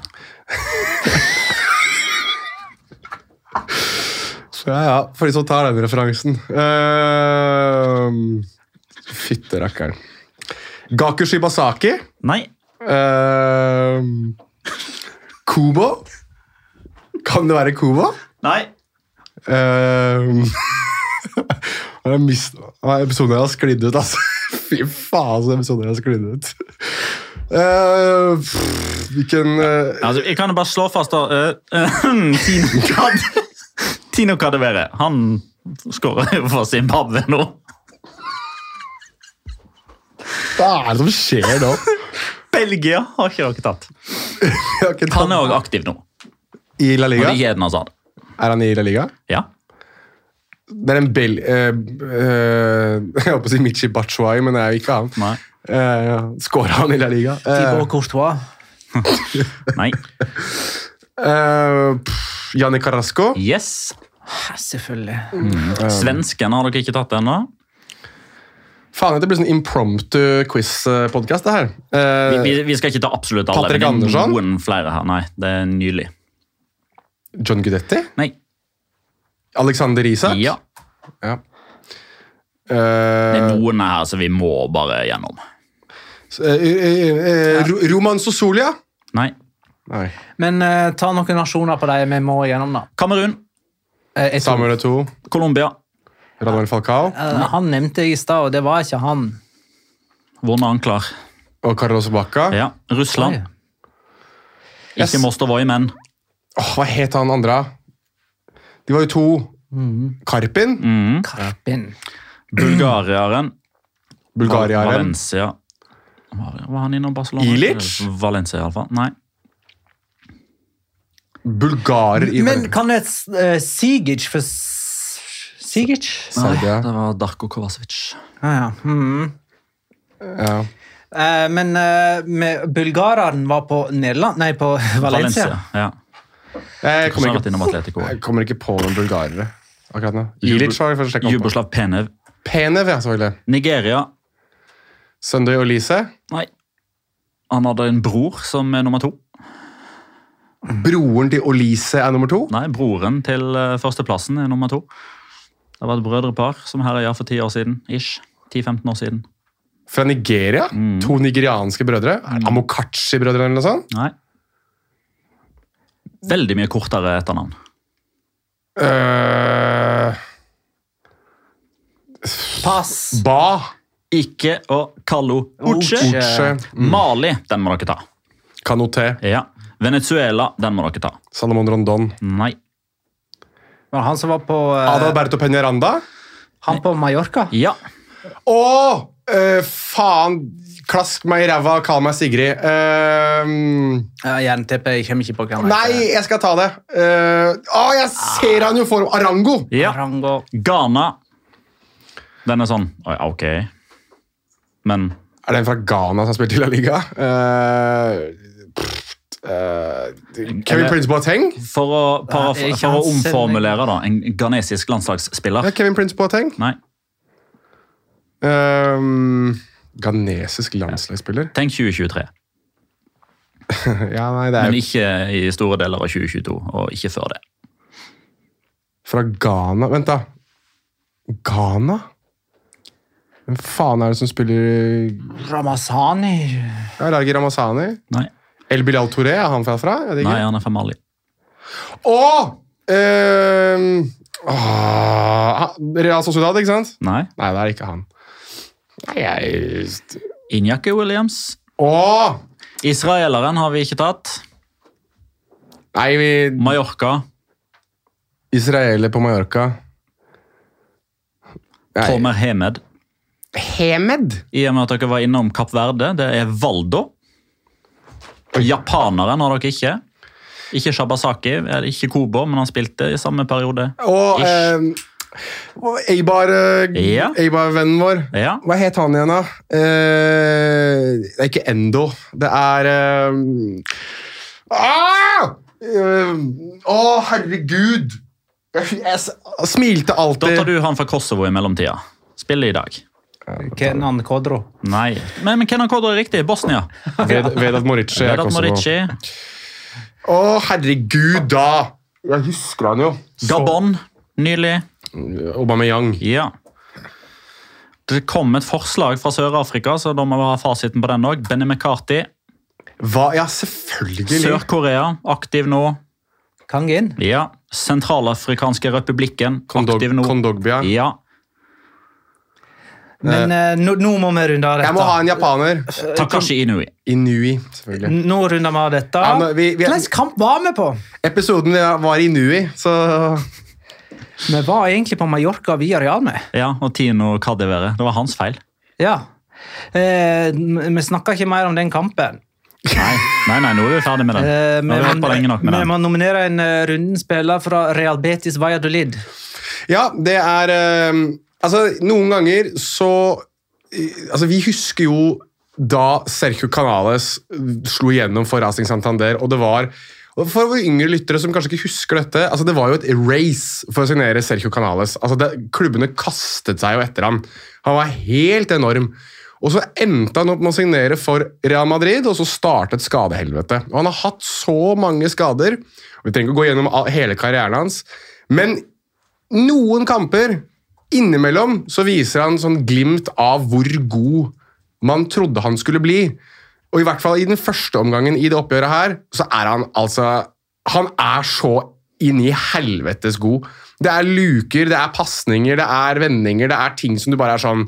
Ja, ja, for de som tar den referansen. Uh, Fytte rakkeren. Gaku Shibasaki.
Nei.
Eh, Kubo. Kan det være Kubo?
Nei.
<laughs> Uh, mist, Nei, episoden her har sklidd ut, altså. <laughs> Fy faen, så episoden her har sklidd ut. Eh, pff, hvilken eh,
Altså, jeg kan jo bare slå fast da eh, <clears throat> Tino Kad- Tino Kadevere. Han skårer jo for Zimbabwe nå.
Hva er det som skjer nå? <laughs>
Belgia har ikke dere tatt.
Jeg har ikke tatt-
Han er òg aktiv nå.
I La
Og
Liga?
det er den, altså.
Er han i La Liga?
Ja.
Det er en bel... eh, eh, <laughs> jeg holdt på å si Michi Batshuayi, men det er jo ikke han.
Nei.
Uh, Skåra han i La Liga?
Thibaut Courtois.
Nei.
Eh, eh, pff, Gianni Carrasco?
Yes.
Ja, Selvfølgelig.
Um.
Svensken har dere ikke tatt ennå.
Faen, dette blir sånn impromptu quiz-podkast, det her.
Vi,
Eh,
vi, vi skal ikke ta absolutt alle,
Patrick
men det er
Andersson?
noen flere her. Nei, det er nylig.
John Gudetti?
Nei.
Alexander Isak?
Ja.
Ja.
Det
Eh,
er noen her som vi må bare gjennom.
s- eh, eh, eh, Ro- Roman Sosolia?
Nei.
Nei.
Men eh, ta noen nasjoner på de vi må gjennom, da.
Kamerun.
Eh, jeg tror-
Samuel Eto'o?
Colombia.
Radamel Falcao?
Eh, han nevnte jeg i stad, og det var ikke han.
Vonde ankler.
Og Carlos Bacca?
Ja. Russland.
Oi.
Yes.
Ikke Mostovoi, men
Åh, hva het han andre? De var jo to. Karpin?
mm.
Karpin.
Bulgariaren. Val-
Bulgariaren?
Valencia. Var, var han innom Barcelona?
Ilic?
Valencia, iallfall. Nei.
Bulgarer i
Men kan jeg uh, Sigic for S- Sigic?
Serbia.
det var Darko Kovacevic.
Ja, ja. Mhm.
Ja.
Eh, men eh, med bulgareren var på Nederland Nei, på <laughs> Valencia.
Ja.
Eh, Jeg,
Som har
kommer
vært
ikke,
innom Atletico.
jeg kommer ikke på noen bulgarere akkurat nå. Ilic var jeg først sjekket opp på.
Juboslav Penev.
Penev, ja, selvfølgelig.
Nigeria.
Søndag og Lise.
Nei. Han hadde en bror som er nummer to.
Broren til Olise er nummer to.
Nei, broren til eh, førsteplassen er nummer to. Det var et brødrepar som herja for 10 år siden. Ish. 10-15 år siden.
Fra Nigeria. To nigerianske brødre. Er det Amokachi-brødre eller noe sånt?
Nei. Veldig mye kortere etternavn.
Eh,
Pass.
ba.
Ikke og Kallo Uche.
Uche.
Uche.
Mali, den må dere ta.
Kanoté.
Ja. Venezuela, den må dere ta.
Salomon Rondon.
Nei.
Var det han som var på eh,
Adalberto Peñaranda.
Han på Mallorca?
Ja.
Å! eh, faen! Klask meg i ræva og kall meg Sigrid. Eh,
Ja, Jernteppe. Jeg kommer ikke på hva han heter.
Nei, jeg skal ta det. Eh, Å, jeg ser han jo for Arango!
ja.
Arango.
Ghana. Den er sånn Oi, ok. Men
Er det en fra Ghana som har spilt i La Liga? Eh, pff, eh, Kevin
Eller-
Prince Boateng?
for å, para,
Nei, ikke
for å
han selv,
omformulere, da. En ghanesisk
Ja,
landslagsspiller.
Kevin Prince Boateng.
Nei.
Ehm, Ghanesisk landslagsspiller?
Tenk 2023.
Ja, nei, det er
Men
jo
ikke i store deler av 2022, og ikke før det.
fra Ghana Vent, da. Ghana? Hvem faen er det som spiller
Ramazani.
ja, Largi Ramazani?
Nei,
El Bilal Touré, er han fra? fra? Er det
Nei
ikke?
han er fra Mali.
Å! Ehm, ah, Real Sociedad, ikke sant?
Nei.
Nei, det er ikke han. Nei, jeg
Injaki Williams.
Å!
Israeleren har vi ikke tatt.
Nei, vi
Mallorca.
Israeler på Mallorca. Nei,
Tomer Hemed.
Hemed?
I og med at dere var innom Kapp Verde, det er Valdo. Japaneren har dere ikke. Ikke Shabasaki, eller ikke Kobo, men han spilte i samme periode.
Og
Ish.
eh, Eibar-vennen
Ja.
vår.
Ja.
Hva het han igjen, da? Eh, det er ikke Endo. Det er eh, ah! Eh, Å, herregud! Jeg, jeg s-
Da
smilte
tar
alltid.
du han fra Kosovo i mellomtida. Spiller i dag.
Kenan Kodro.
Nei. Men, men hvem han kodder riktig? Bosnia.
Ved- Vedat Morici. er
Vedat
Kosovo.
Morici.
Å, herregud, da! Jeg husker han jo.
Gabon. Nylig.
Aubameyang.
Ja. Det kom et forslag fra Sør-Afrika, så da må vi ha fasiten på den òg. Benny McCarthy.
Hva? Ja, selvfølgelig.
Sør-Korea, aktiv nå.
Kangin.
Ja. Sentralafrikanske republikken,
Kondog-
aktiv nå.
Kondogbia.
Ja.
Men eh, nå nå må vi runde av dette.
Jeg må ha en japaner.
Takashi Inui.
Inui, selvfølgelig.
Nå runder vi av dette.
Ja, men vi- vi-
Hvilken kamp var vi på?
Episoden var Inui, så
Vi var egentlig på Mallorca via Real med.
Ja, og Tino Kadevere. Det var hans feil.
Ja. Eh, vi snakker ikke mer om den kampen.
Nei, nei, nei nå er vi ferdig med den.
Eh,
Nå har vi
vi
vært på
må-
lenge nok med
vi
den.
må nominere en eh, runden spiller fra Real Betis Valladolid.
Ja, det er eh, Altså, noen ganger så eh, Altså, vi husker jo da Sergio Canales slo igjennom for Racing Santander, og det var og for våre yngre lyttere som kanskje ikke husker dette, altså det var jo et race for å signere Sergio Canales. Altså det, klubbene kastet seg jo etter ham. Han var helt enorm. Og så endte han opp med å signere for Real Madrid, og så startet skadehelvete. Og han har hatt så mange skader. Vi trenger ikke å gå gjennom all- hele karrieren hans, men noen kamper innimellom så viser han sånn glimt av hvor god man trodde han skulle bli. Og i hvert fall i den første omgangen i det oppgjøret her, så er han altså Han er så inn i helvetes god. Det er luker, det er pasninger, det er vendinger, det er ting som du bare er sånn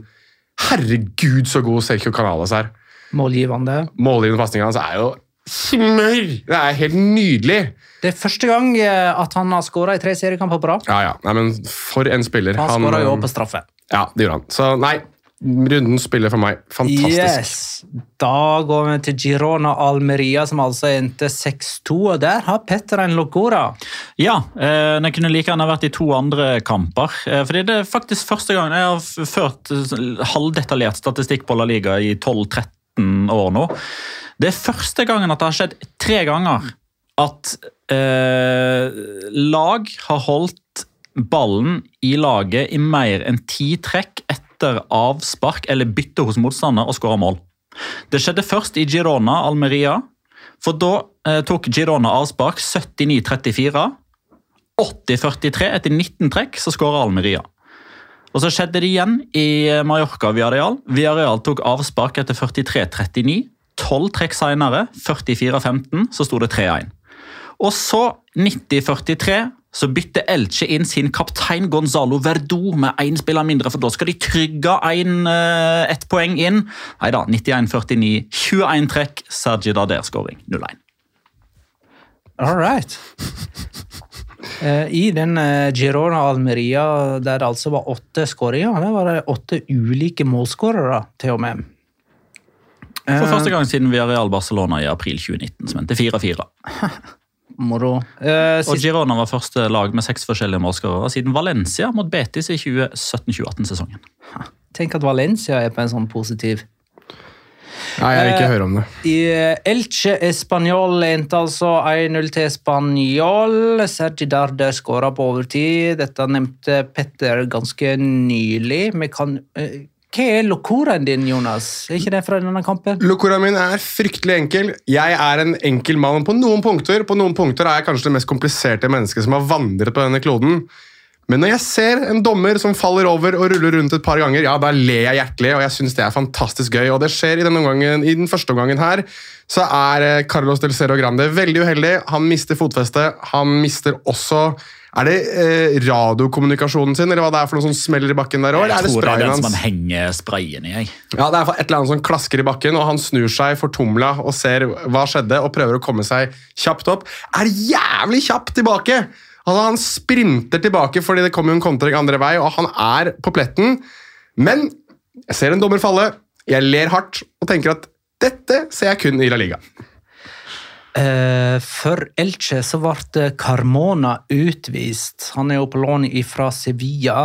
Herregud, så god Sergio Canales er.
Målgivende.
Målgivende pasninger hans er jo smør! Det er helt nydelig.
Det er første gang eh, at han har skåra i tre seriekamper på rad.
Ja, ja. Nei, men for en spiller.
Han skåra jo
eh,
på straffe.
Ja, det gjorde han. Så nei, runden spiller for meg. Fantastisk.
Yes. Da går vi til Girona Almeria, som altså endte 6-2. Og der har Petter en locora.
Ja, eh, Den kunne like gjerne vært i to andre kamper. Eh, fordi Det er faktisk første gang jeg har f- ført eh, sånn halvdetaljert statistikk på La Liga i 12-13 år nå. Det er første gangen at det har skjedd tre ganger at eh, lag har holdt ballen i laget i mer enn ti trekk etter avspark eller bytte hos motstander og skåra mål. Det skjedde først i Girona, Almeria. For da eh, tok Girona avspark 79-34. 80-43 etter 19 trekk så skåra Almeria. Og så skjedde det igjen i eh, Mallorca og Villarreal. Villarreal tok avspark etter 43-39. 12 trekk senere, 44-15, så sto det 3-1. Og så, 90-43, så bytter Elche inn sin kaptein Gonzalo Verdo med én spiller mindre, for da skal de trygge en, eh, ett poeng inn. Nei da, 91-49, 21 trekk, Sergi Darder-skåring, 0-1.
All right. <laughs> Eh, I den eh, Girona Almeria, der det altså var åtte skåringer, der var det åtte ulike målskårere, til og med.
For første gang siden Villarreal Barcelona i april 2019, som endte 4-4.
Moro. Eh,
Og
siste,
Girona var første lag med seks forskjellige målskårere siden Valencia mot Betis i 2017-2018-sesongen.
tenk at Valencia er på en sånn positiv
Nei, jeg vil ikke høre om det.
I eh, Elche Español endte altså 1-0 til Español. Sergi Darder skåra på overtid. Dette nevnte Petter ganske nylig. Vi kan, eh, hva er locoraen din, Jonas? Er ikke det fra denne kampen?
Locora min er fryktelig enkel. Jeg er en enkel mann på noen punkter. På noen punkter er jeg kanskje det mest kompliserte mennesket som har vandret på denne kloden. Men når jeg ser en dommer som faller over og ruller rundt et par ganger, ja, da ler jeg hjertelig, og jeg syns det er fantastisk gøy. Og det skjer i denne omgangen, i den første omgangen her, så er eh, Carlos del Cerro Grande veldig uheldig. Han mister fotfestet. Han mister også Er det eh, radiokommunikasjonen sin, eller hva det er for noe som smeller i bakken der òg? Eller er det
tror det er
sprayen
den som
hans?
han henger sprayen i. Jeg.
Ja, det er et eller annet som klasker i bakken, og han snur seg fortumla og ser hva skjedde, og prøver å komme seg kjapt opp. Er jævlig kjapp tilbake! Altså, han sprinter tilbake fordi det kommer jo en kontring andre vei, og han er på pletten. Men jeg ser en dommer falle, jeg ler hardt og tenker at dette ser jeg kun i La Liga.
Eh, for Elche så ble eh, Carmona utvist. Han er jo på lån fra Sevilla.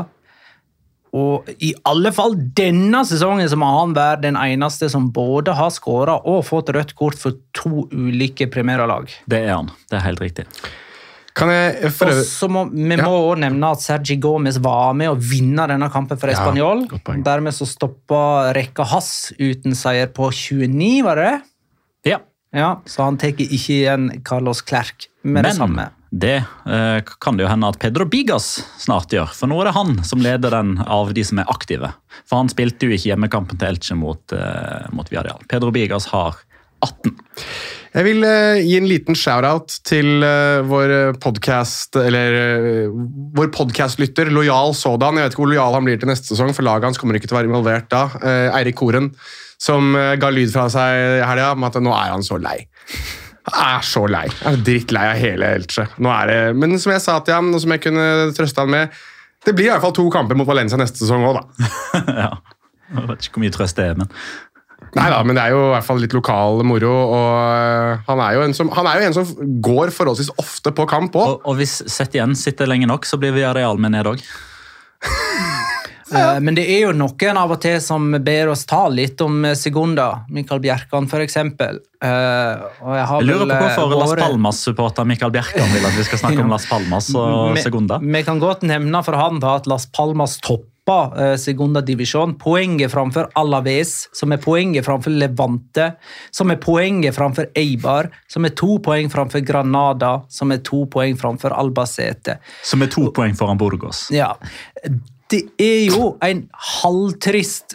Og i alle fall denne sesongen så må han være den eneste som både har skåra og fått rødt kort for to ulike premierlag.
Det er han. Det er helt riktig.
Kan jeg for
Og
øvrig
så må, Vi må også nevne at Sergi Gomez var med å vinne denne kampen for Español.
godt poeng.
Dermed så stoppa rekka hans uten seier på 29, var det?
Ja.
Ja, Så han tar ikke igjen Carlos Clerc med det
Men
samme.
det eh, kan det jo hende at Pedro Bigas snart gjør. For nå er det han som leder den av de som er aktive. For han spilte jo ikke hjemmekampen til Elche mot, eh, mot Viadial. Pedro Bigas har 18.
Jeg vil eh, gi en liten shout-out til eh, vår podkast Eller eh, vår podcastlytter, lojal sådan. Jeg vet ikke hvor lojal han blir til neste sesong, for laget hans kommer ikke til å være involvert da. Eh, Eirik Koren, som eh, ga lyd fra seg i helga om at nå er han så lei. Han er så lei. Han er drittlei av hele Elche. Nå er det, men som jeg sa til ham, og som jeg kunne trøste ham med Det blir i hvert fall to kamper mot Valencia neste sesong òg, da.
<laughs> ja. Jeg vet ikke hvor mye trøst det er, men
Nei da, men det er jo i hvert fall litt lokal moro. og eh, Han er jo en som, han er jo en som går forholdsvis ofte på kamp òg.
Og, og hvis Sett igjen sitter lenge nok, så blir Viadial med ned òg.
Eh, Men det er jo noen av og til som ber oss ta litt om eh, Segunda. Michael Bjerkan, for eksempel. Eh, og jeg, har
Jeg lurer
vel,
på
eh,
hvorfor Las
vært-
Palmas-supporter Mikael Bjerkan vil at vi skal snakke om Las Palmas og
Vi-
Segunda.
Vi Mm, kan godt nevne for han da at Las Palmas toppa eh, Segunda divisjon. Poenget framfor Alaves, som er poenget framfor Levante, som er poenget framfor Eibar, som er to poeng framfor Granada, som er to poeng framfor Albacete.
Som er to poeng foran Burgos.
Ja. Det er jo en halvtrist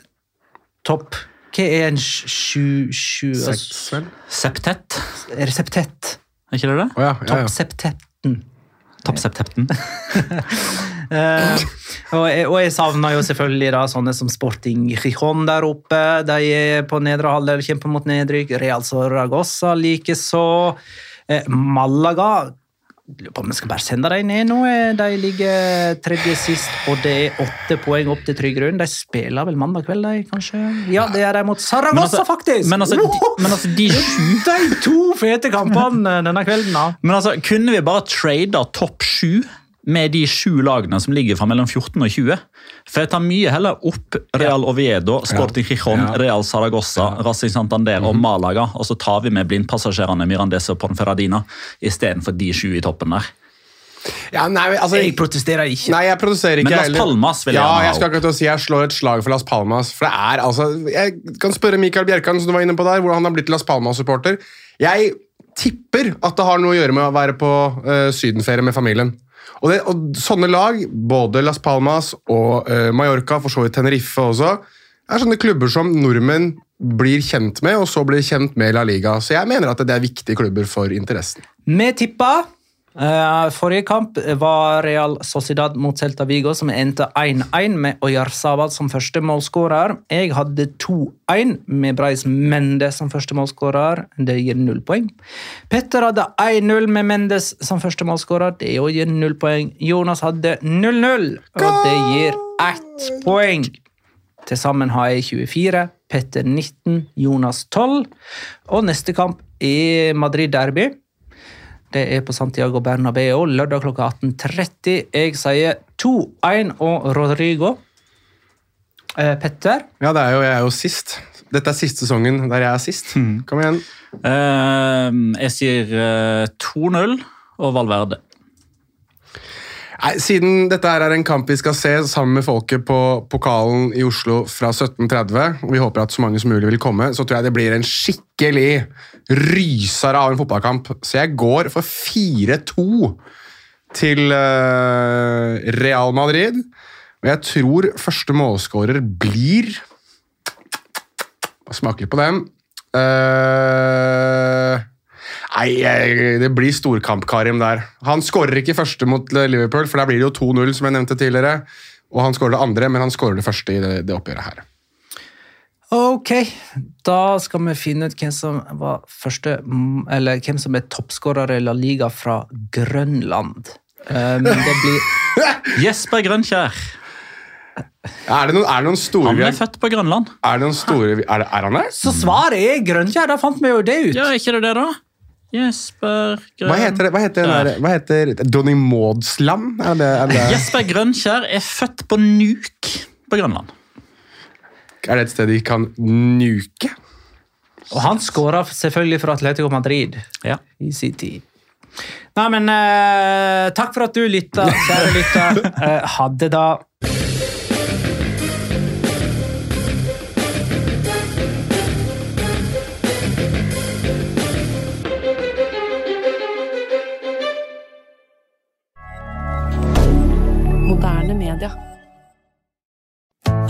topp. Hva er en sj- sju... sju
Seks, vel?
Septett,
Er det septett?
er ikke det det?
Å ja, ja, ja.
Toppseptetten.
Toppseptepten.
Eh, og, jeg, og jeg savner jo selvfølgelig da sånne som Sporting Gijon der oppe. De er på nedre halvdel, kjemper mot nedrykk. Real Saragossa likeså. Eh, Malaga Lurer på om vi skal bare sende dem ned nå. eh, De ligger tredje sist, og det er åtte poeng opp til trygg grunn. De spiller vel mandag kveld, de, kanskje? Ja, det er de mot Saragossa, faktisk!
men altså, de, men altså, de sju
de to fete kampene denne kvelden, da.
Men altså, kunne vi bare trade topp sju med de sju lagene som ligger fra mellom 14 og 20? For jeg tar mye heller opp Real Oviedo, Sporting Gijon, Real Saragossa, Racing Santander og Malaga, og så tar vi med blindpassasjerene Mirandes og Ponferradina istedenfor de sju i toppen der.
Ja, nei, men, altså,
Jeg protesterer ikke.
nei, jeg produserer ikke
Men Las
heller.
Palmas vil jeg
ja,
gjerne ha
jeg skal akkurat til å si jeg slår et slag for Las Palmas. For det er altså Jeg kan spørre Mikael Bjerkan, som du var inne på der, hvordan han har blitt Las Palmas-supporter. Jeg tipper at det har noe å gjøre med å være på eh, sydenferie med familien. Og, det, og sånne lag, både Las Palmas og eh, Mallorca, for så vidt Tenerife også, er sånne klubber som nordmenn blir kjent med, og så blir kjent med La Liga. Så jeg mener at det er viktige klubber for interessen.
Vi tippa. Eh, forrige kamp var Real Sociedad mot Celta Vigo, som endte 1-1 med Oyarzabal som første målskårer. Jeg hadde 2-1 med Breis Mende som første målskårer. Det gir null poeng. Petter hadde 1-0 med Mendes som første målskårer. Det òg gir null poeng. Jonas hadde 0-0, og det gir ett poeng. Til sammen har jeg 24, Petter 19, Jonas 12. Og neste kamp er Madrid Derby. Det er på Santiago Bernabeu lørdag klokka 18.30. Jeg sier 2-1 og Rodrigo. Eh, Petter,
Ja, det er jo, jeg er jo sist. Dette er siste sesongen der jeg er sist.
Mm.
Kom igjen.
Eh, jeg sier eh, 2-0 og Valverde.
Nei, siden dette her er en kamp vi skal se sammen med folket på pokalen i Oslo fra 17.30, og vi håper at så mange som mulig vil komme, så tror jeg det blir en skikkelig rysere av en fotballkamp. Så jeg går for 4-2 til eh, Real Madrid. Og jeg tror første målskårer blir Smaker litt på den. Eh, Nei, jeg- det blir storkamp, Karim, der. Han skårer ikke første mot Liverpool, for der blir det jo 2-0, som jeg nevnte tidligere. Og han skårer det andre, men han skårer det første i det, det oppgjøret her.
Ok, da skal vi finne ut hvem som var første mm, Eller hvem som er toppskårer i La Liga fra Grønland. Eh, men det blir
Jesper Grønkjær.
Er det noen, er det noen store
Han
vi
er
har-
født på Grønland.
Er det noen store vi- er, det, er han det?
Så svaret er Grønkjær! Da fant vi jo det ut.
Ja, er ikke det det, da? Jesper Grøn...
Hva heter, det- hva heter, den der, hva heter Donny Maudsland? Er det, er, det,
Jesper Grønkjær er født på Nuk på Grønland.
er det et sted de kan nuke?
Og han skåra selvfølgelig for Atletico Madrid
Ja.
i sin tid. Nei, men eh, takk for at du lytta, kjære lytter. Eh, hadde da
Moderne media.